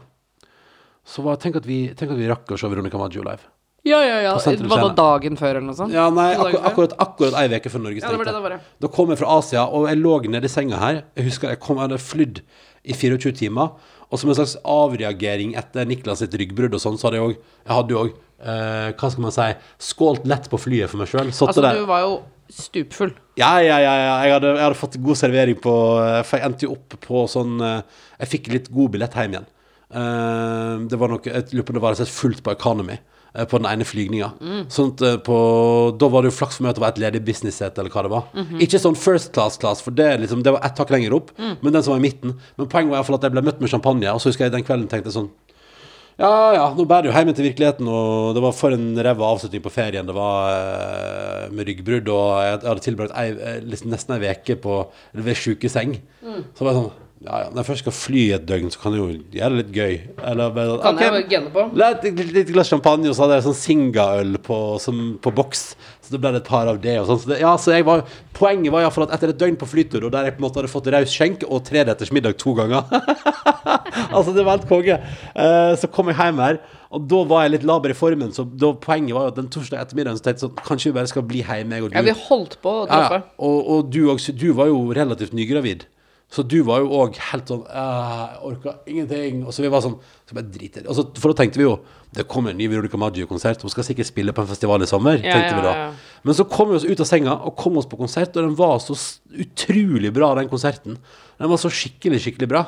S3: så var Tenk at vi, tenk at vi rakk å se Veronica Maggio live.
S4: Ja, ja, ja.
S3: Sentrum
S4: Var
S3: Scene.
S4: det dagen før, eller noe sånt?
S3: Ja, nei,
S4: sånn. To dager
S3: akkur
S4: før?
S3: akkurat, akkurat ei uke før Norge
S4: Ja, det
S3: stengte.
S4: var det det var, ja.
S3: da kom jeg fra Asia, og jeg lå nede i senga her. Jeg husker jeg, kom, jeg hadde flydd i 24 timer. Og som en slags avreagering etter Niklas sitt ryggbrudd og sånn, så hadde jeg òg Jeg hadde jo òg eh, hva skal man si Skålt lett på flyet for meg sjøl.
S4: Altså, du var jo stupfull.
S3: Ja, ja, ja, ja. Jeg, hadde, jeg hadde fått god servering på eh, For jeg endte jo opp på sånn eh, Jeg fikk litt god billett hjem igjen. Eh, det var nok Jeg lurer på om det var rett og slett fullt på Economy eh, på den ene flygninga. Sånn at, eh, på, da var det jo flaks for meg at det var et ledig business-sete, eller hva det var. Ikke sånn first class-class, for det, er liksom, det var ett hakk lenger opp, men den som var i midten. Men poenget var i hvert fall at jeg ble møtt med champagne, og så husker jeg den kvelden tenkte jeg sånn ja, ja, nå bærer du hjem til virkeligheten, og det var for en ræva avslutning på ferien. Det var eh, med ryggbrudd, og jeg hadde tilbrakt ei, eh, liksom nesten ei uke på ved sjukeseng.
S4: Mm.
S3: Så var jeg sånn Ja, ja, når jeg først skal fly i et døgn, så kan jeg jo gjøre det litt gøy. Eller bare sånn
S4: Kan jeg
S3: «Ok,
S4: bare gønne på?»
S3: la et litt, litt glass champagne, og så hadde jeg sånn Singa-øl på, som- på boks. Så det ble det et par av det. Og sånn. så det ja, så jeg var, poenget var iallfall at etter et døgn på flytur, og der jeg på en måte hadde fått raus skjenk og treretters middag to ganger (laughs) Altså, det var helt konge. Eh, så kom jeg hjem her, og da var jeg litt laber i formen. Så da, poenget var jo at den torsdag ettermiddagen så tenkte jeg sånn Kanskje vi bare skal bli hjemme, jeg og du.
S4: Ja, vi holdt på å
S3: Ja, ja.
S4: droppe.
S3: Og, og du, også, du var jo relativt nygravid. Så du var jo òg helt sånn «Æh, Jeg orka ingenting. Og så vi var sånn så bare driter. Og så, for da tenkte vi jo det kommer en ny Veronica Maggio-konsert. Hun skal sikkert spille på en festival i sommer.
S4: Ja,
S3: tenkte
S4: ja,
S3: vi da.
S4: ja, ja.
S3: Men så kom vi oss ut av senga og kom oss på konsert, og den var så s- utrolig bra, den konserten. Den var så skikkelig, skikkelig bra.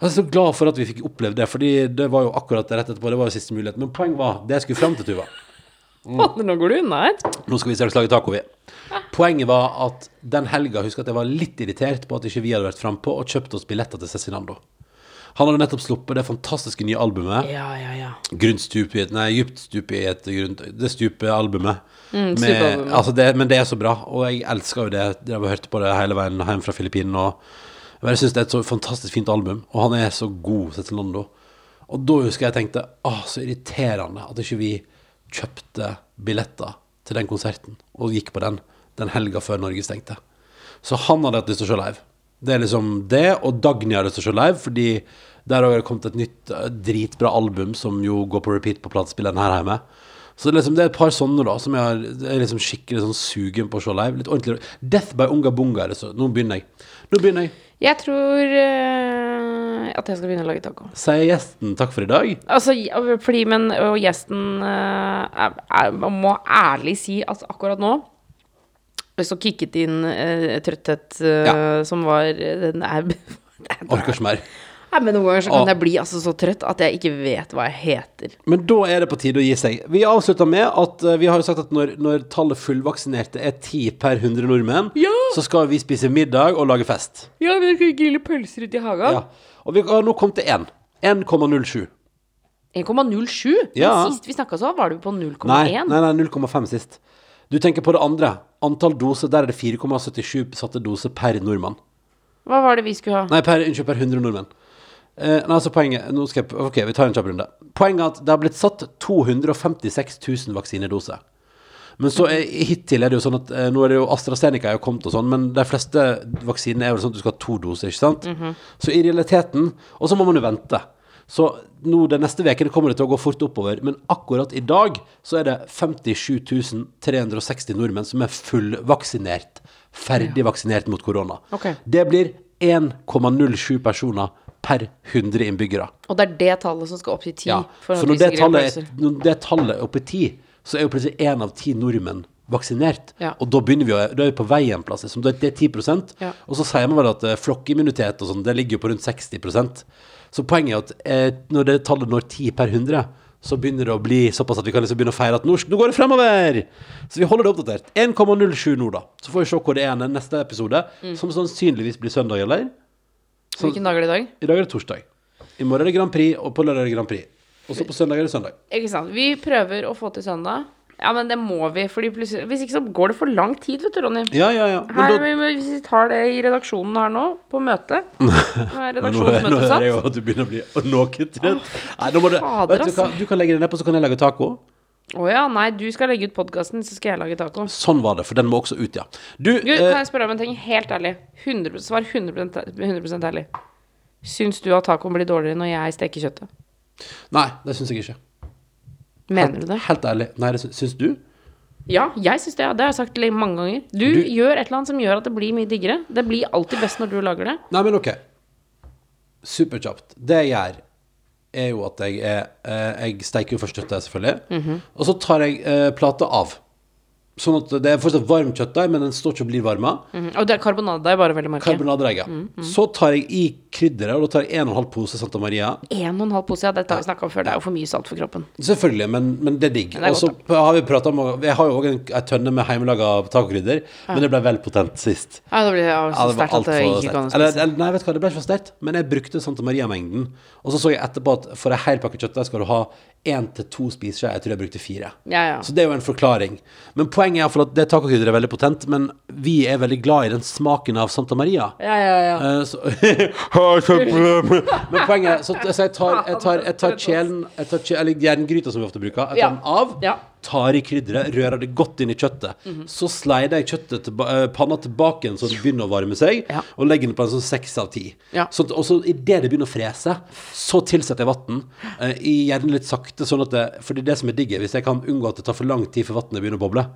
S3: Jeg er så glad for at vi fikk opplevd det, Fordi det var jo akkurat rett etterpå. Det var jo siste mulighet. Men poenget var det jeg skulle fram til, Tuva. Mm.
S4: Fader, nå går du unna her.
S3: Nå skal vi straks lage taco, vi. Poenget var at den helga husker jeg at jeg var litt irritert på at ikke vi hadde vært frampå og kjøpt oss billetter til Cezinando. Han hadde nettopp sluppet det fantastiske nye albumet.
S4: Ja, ja, ja.
S3: Grunt stup i et Nei, dypt stup i et grunt Det stupet albumet. Med,
S4: stupalbumet.
S3: altså det, men det er så bra, og jeg elsker jo det. Jeg har hørt på det hele veien hjem fra Filippinene. og- Men jeg syns det er et så fantastisk fint album, og han er så god, Cezinando. Og da husker jeg tenkte Åh, så irriterende at ikke vi kjøpte billetter til den konserten og gikk på den den helga før Norge stengte. Så han hadde hatt lyst til å se live. Det er liksom det, og Dagny har lyst til å se live, fordi der har det kommet et nytt eh, dritbra album som jo går på repeat på platespilleren her hjemme. Så det er, liksom, det er et par sånne da som jeg har jeg er liksom skikkelig sånn sugen på å se live. Litt ordentlig. Death by Unga Bunga er det så. Nå begynner jeg. Nå begynner jeg.
S4: Jeg tror eh, at jeg skal begynne å lage taco.
S3: Sier gjesten takk for i dag.
S4: Altså, ja, fordi, men og gjesten eh, er, er, Man må ærlig si at akkurat nå så kicket det inn eh, trøtthet eh,
S3: Ja.
S4: som var Den (laughs) er det er-
S3: Orker ikke mer.
S4: Nei, men noen ganger så
S3: Å.
S4: kan jeg bli altså så trøtt at jeg ikke vet hva jeg heter.
S3: Men da er det på tide å gi seg. Vi avslutter med at eh, vi har jo sagt at når, når tallet fullvaksinerte er 10 per 100 nordmenn,
S4: Ja!
S3: så skal vi spise middag og lage fest.
S4: Ja, vi skal grille pølser ute i hagen.
S3: Ja. Og vi har nå kommet til 1. 1,07.
S4: 1,07?
S3: Ja.
S4: Men sist vi snakka så, var du på
S3: Nei,
S4: 0,1.
S3: nei, nei 0,5 sist. Du tenker på det andre. Antall doser, der er det 4,77 satte doser per nordmann.
S4: Hva var det vi skulle ha?
S3: Nei, per, unnskyld, per 100 nordmenn. Eh, nei, altså poenget nå skal jeg, Ok, vi tar en kjapp runde. Poenget er at det har blitt satt 256 000 vaksinedoser. Men så er, hittil er det jo sånn at eh, Nå er det jo AstraZeneca er jo kommet og sånn, men de fleste vaksinene er jo sånn at du skal ha to doser, ikke sant? Så i realiteten Og så må man jo vente. Så nå de neste ukene kommer det til å gå fort oppover, men akkurat i dag så er det 57 360 nordmenn som er fullvaksinert, ferdig vaksinert mot korona.
S4: Ok.
S3: Det blir 1,07 personer per 100 innbyggere.
S4: Og det er det tallet som skal opp til ti.
S3: Ja,
S4: for
S3: for
S4: at
S3: når
S4: vi
S3: det,
S4: skal greie
S3: tallet,
S4: pølser.
S3: er- når det tallet er oppe i ti, så er jo plutselig én av ti nordmenn vaksinert.
S4: Ja.
S3: Og da begynner vi å, da er vi på vei en plass. Liksom. Da er Det er 10
S4: Ja.
S3: Og så sier man vel at eh, flokkimmunitet og sånn, det ligger jo på rundt 60 Så poenget er at eh, når det tallet når 10 per 100, så begynner det å bli såpass at vi kan liksom begynne å feire at norsk, nå går det fremover! Så vi holder det oppdatert. 1,07 nå, da. Så får vi se hvor det er i neste episode,
S4: Mm.
S3: som sannsynligvis blir søndag, eller? Så,
S4: Hvilken dag er det i dag?
S3: I dag er det torsdag. I morgen er det Grand Prix, og på lørdag er det Grand Prix. Og så på søndag er det søndag.
S4: Ikke sant. Vi prøver å få til søndag. Ja, men det må vi. Fordi plutselig, hvis ikke så går det for lang tid, vet du, Ronny.
S3: Ja, ja, ja. Men
S4: Her,
S3: da, (laughs)
S4: vi, må- hvis vi tar det i redaksjonen her nå, på møte Nå er
S3: Men nå, hører- nå
S4: redaksjonsmøtet
S3: hører jeg jo
S4: satt.
S3: at du begynner å bli noe trøtt. Nei, nå må du,
S4: fader, altså.
S3: vet du, hva, du kan legge deg ned på, så kan jeg lage taco.
S4: Å ja, nei, du skal legge ut podkasten, så skal jeg lage taco.
S3: Sånn var det, for den må også ut, ja. Du,
S4: Du,
S3: eh,
S4: kan jeg spørre om en ting helt ærlig? 100%, svar 100, 100 ærlig. Syns du at tacoen blir dårligere når jeg steker kjøttet?
S3: nei, det syns jeg ikke.
S4: Mener du det?
S3: Helt ærlig. Nei, det syns, syns du?
S4: Ja, jeg syns det. ja. Det har jeg sagt le- mange ganger. Du,
S3: Du-
S4: gjør et eller annet som gjør at det blir mye diggere. Det blir alltid best når du lager det.
S3: Nei, men OK. Superkjapt. Det jeg gjør, er jo at jeg er eh, Jeg steiker jo først kjøttet, selvfølgelig.
S4: Mhm.
S3: Og så tar jeg eh, plata av. Sånn at det er fortsatt varmt kjøttdeig, men den står ikke og blir varma.
S4: Mhm. Og det er karbonade er bare veldig merke.
S3: Karbonadeegg, ja.
S4: Mm,
S3: Så tar jeg i krydderet, og da tar jeg en og en halv pose Santa Maria.
S4: En og en halv pose, ja, dette har vi snakka om før. Det er jo for mye salt for kroppen.
S3: Selvfølgelig, men, men det er digg.
S4: det er
S3: Og så har vi pratet om Jeg har jo òg ei tønne med hjemmelaga tacokrydder, men det ble vel potent sist.
S4: Ja, det blir ja,
S3: Ja,
S4: så
S3: det var
S4: sterkt at
S3: alt
S4: det
S3: for
S4: ikke
S3: sterkt.
S4: kan
S3: Eller,
S4: spise.
S3: eller, nei, vet du hva, det ble ikke for sterkt, men jeg brukte Santa Maria-mengden. Og så så jeg etterpå at for ei hel pakke kjøttdeig skal du ha én til to spiseskjeer. Jeg tror jeg brukte fire.
S4: Ja, ja.
S3: Så det er jo en forklaring. Men poenget er i hvert fall at det tacokrydderet er veldig potent, men vi er veldig glad i den smaken av Santa Maria.
S4: Ja, ja, ja.
S3: Eh, så- (laughs) Ha, så- Men poenget er så, så jeg tar, jeg tar, jeg tar kjelen jeg tar, kje- Eller jerngryta, som vi ofte bruker. Jeg
S4: Ja.
S3: tar den av,
S4: Ja. Mhm.
S3: tar i krydderet, rører det godt inn i kjøttet. Så sleider jeg kjøttet tilba eh, panna tilbake igjen, så det begynner å varme seg,
S4: Ja.
S3: og legger den på en sånn seks av ti.
S4: Ja.
S3: Sånn at- og så idet det begynner å frese, så tilsetter jeg vann. gjerne litt sakte, sånn at det, fordi det som er digg, er hvis jeg kan unngå at det tar for lang tid før vannet begynner å boble.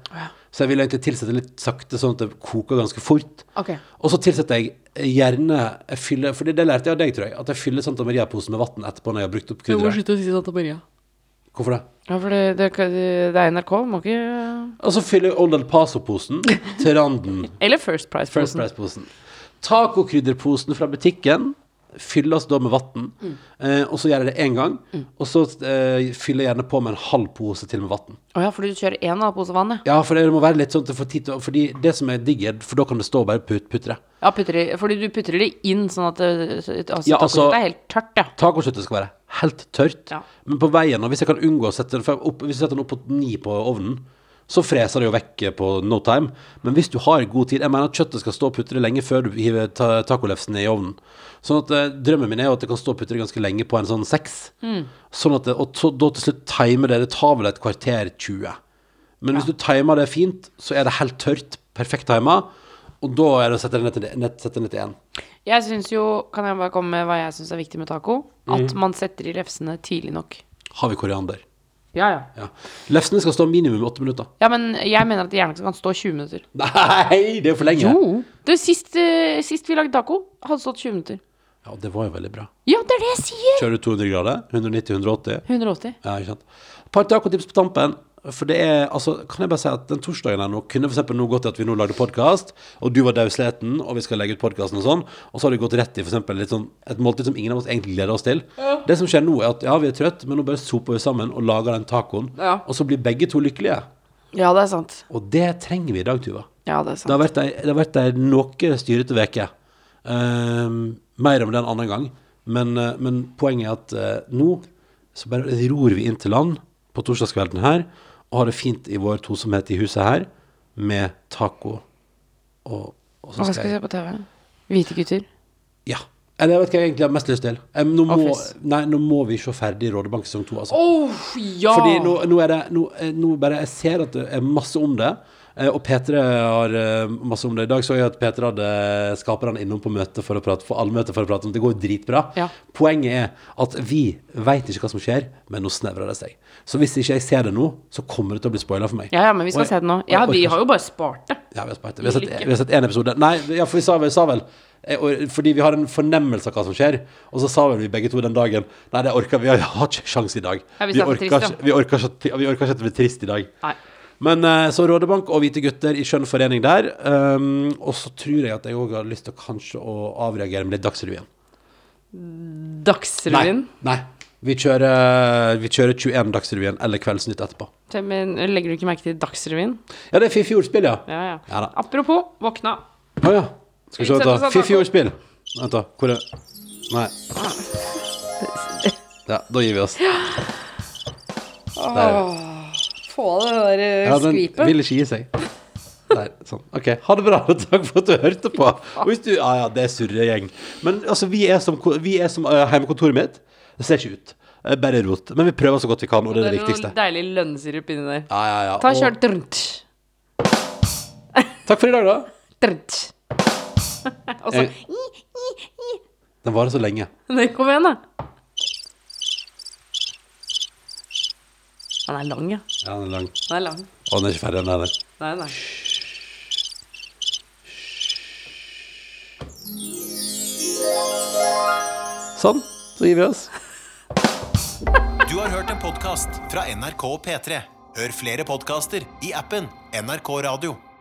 S3: Så jeg vil egentlig tilsette litt sakte, sånn at det koker ganske fort.
S4: Ok.
S3: Og så tilsetter jeg gjerne jeg fyller, Fordi det lærte jeg av deg, tror jeg. At jeg fyller Santa Maria-posen med vann etterpå når jeg har brukt opp krydderet.
S4: slutte å si Santa Maria.
S3: Hvorfor det?
S4: Ja, for det, det, det er NRK, må ikke
S3: Og så fyller jeg Old El Paso-posen til randen.
S4: Eller First
S3: First
S4: Price-posen.
S3: Price-posen. Tacokrydderposen fra butikken fylles da med vann. Eh, og så gjør jeg det én gang. Og så eh, fyller jeg gjerne på med en halv pose til med vann.
S4: Å ja, for du kjører én halv pose vann, ja.
S3: Ja, for det må være litt sånn at du får tid til å Fordi det som er digg, er- for da kan det stå og bare put, putre.
S4: ja putter i, fordi du putter det inn sånn at det, altså,
S3: Ja, altså-
S4: det er helt tørt, ja.
S3: Tacokjøttet skal være helt tørt.
S4: Ja.
S3: Men på veien, og hvis jeg kan unngå å sette den for jeg opp, Hvis jeg setter den opp på ni på ovnen, så freser det jo vekk på no time. Men hvis du har god tid Jeg mener at kjøttet skal stå og putre lenge før du hiver ta tacolefsen i ovnen. Sånn at eh, Drømmen min er jo at det kan stå og putre ganske lenge på en sånn seks. Sånn at det, og så, da til slutt timer det. Det tar vel et kvarter 20. Men hvis du timer det fint, så er det helt tørt. Perfekt timer. Og da er det å sette det ned til- ned sette det ned til én.
S4: Jeg syns jo, kan jeg bare komme med hva jeg syns er viktig med taco? At man setter i lefsene tidlig nok.
S3: Har vi koriander?
S4: Ja, ja.
S3: Ja. Lefsene skal stå minimum åtte minutter.
S4: Ja, men jeg mener at det gjerne kan stå 20 minutter.
S3: Nei, det er for lenge.
S4: Du, sist, eh, sist vi lagde taco, hadde stått 20 minutter.
S3: Ja, det var jo veldig bra.
S4: Ja, det er det jeg sier!
S3: Kjører du 200 grader? 190-180?
S4: 180.
S3: Ja, ikke sant. Et par tacotips på tampen. For det er, altså, kan jeg bare si at den torsdagen her nå kunne for eksempel nå gått til at vi nå lagde podkast, og du var dausleten, og vi skal legge ut podkasten og sånn, og så har det gått rett i for eksempel litt sånn, et måltid som ingen av oss egentlig gleder oss til. Det som skjer nå, er at ja, vi er trøtt, men nå bare soper vi sammen og lager den tacoen,
S4: Ja.
S3: og så blir begge to lykkelige.
S4: Ja, det er sant.
S3: Og det trenger vi i dag, Tuva.
S4: Ja, det er
S3: Det
S4: sant.
S3: har vært ei, det har vært ei noe styrete veke Ehm, mer om det en annen gang. Men, eh, men poenget er at eh, nå så bare ror vi inn til land på torsdagskvelden her og har det fint i vår tosomhet i huset her med taco. Og, og så
S4: Hva skal vi se på TV? Hvite gutter.
S3: Ja. Eller jeg vet hva jeg egentlig har mest lyst til. Em, nå, må,
S4: Office.
S3: nei, nå må vi se ferdig Rådebank sesong to, altså.
S4: Åh, Oh, ja!
S3: Fordi nå, nå er det nå, eh, nå bare, Jeg ser at det er masse om det. Eh, Og P3 har eh, masse om det. I dag så jeg at P3 hadde skaperne innom på møte for å prate for allmøte for å prate om det. Det går jo dritbra.
S4: Ja.
S3: Poenget er at vi veit ikke hva som skjer, men nå snevrer det seg. Så hvis ikke jeg ser det nå, så kommer det til å bli spoila for meg.
S4: Ja, ja, men vi skal
S3: Og jeg-
S4: se det nå.
S3: og jeg
S4: Ja,
S3: orker
S4: vi
S3: ikke.
S4: har jo bare spart det.
S3: Ja, vi har spart det. Vi har sett,
S4: Lykke.
S3: vi har sett en episode. Nei, ja, for vi sa vel, sa vel eh, og- Fordi vi har en fornemmelse av hva som skjer. Og så sa vel vi begge to den dagen Nei, det orker vi. Vi har ikke sjans i dag.
S4: Ja, vi
S3: vi,
S4: sa for
S3: orker
S4: trist,
S3: ikke, vi, orker ikke, at- vi orker ikke at det blir trist i dag.
S4: Nei.
S3: Men eh, så Rådebank og Hvite gutter i skjønn forening der. ehm, og så tror jeg at jeg òg har lyst til kanskje å avreagere med litt Dagsrevyen. Nei,
S4: Dagsrevyen.
S3: nei. Vi kjører, eh, vi kjører 21 Dagsrevyen eller Kveldsnytt etterpå.
S4: Se, Men legger du ikke merke til Dagsrevyen?
S3: Ja, det er fiffig ordspill, ja.
S4: Ja, ja.
S3: Ja da.
S4: Apropos, våkna.
S3: Å ja. Skal vi se,
S4: Utsett
S3: vent
S4: oss
S3: da.
S4: da,
S3: Fiffi
S4: Taco.
S3: ordspill. Vent, da. Hvor er Nei. Ja, da gir vi oss. Der.
S4: Få det der eh,
S3: Ja, den vil ikke gi seg. Der, sånn. Ok, ha det bra, (laughs) og takk for at du hørte på. Og hvis du, ja, ja, det er surregjeng. Men altså, vi er som, ko- vi er som eh, heimekontoret mitt. Det ser ikke ut. Eh, Bare rot. Men vi prøver så godt vi kan, og det er det viktigste.
S4: deilig lønnsirup inni der.
S3: Ja, ja, ja.
S4: Ta
S3: og
S4: kjør drunt.
S3: Takk for i dag, da.
S4: Drunt. Og så
S3: Eh. Den varer så lenge.
S4: Nei, Kom igjen, da. Den er lang, ja.
S3: Ja, den er lang.
S4: Den er lang.
S3: Og den er ikke ferdig, den der.
S4: Nei, nei.
S3: Sånn, så gir vi oss.
S1: Du har hørt en podcast fra NRK P3. Hør flere podcaster i appen NRK Radio.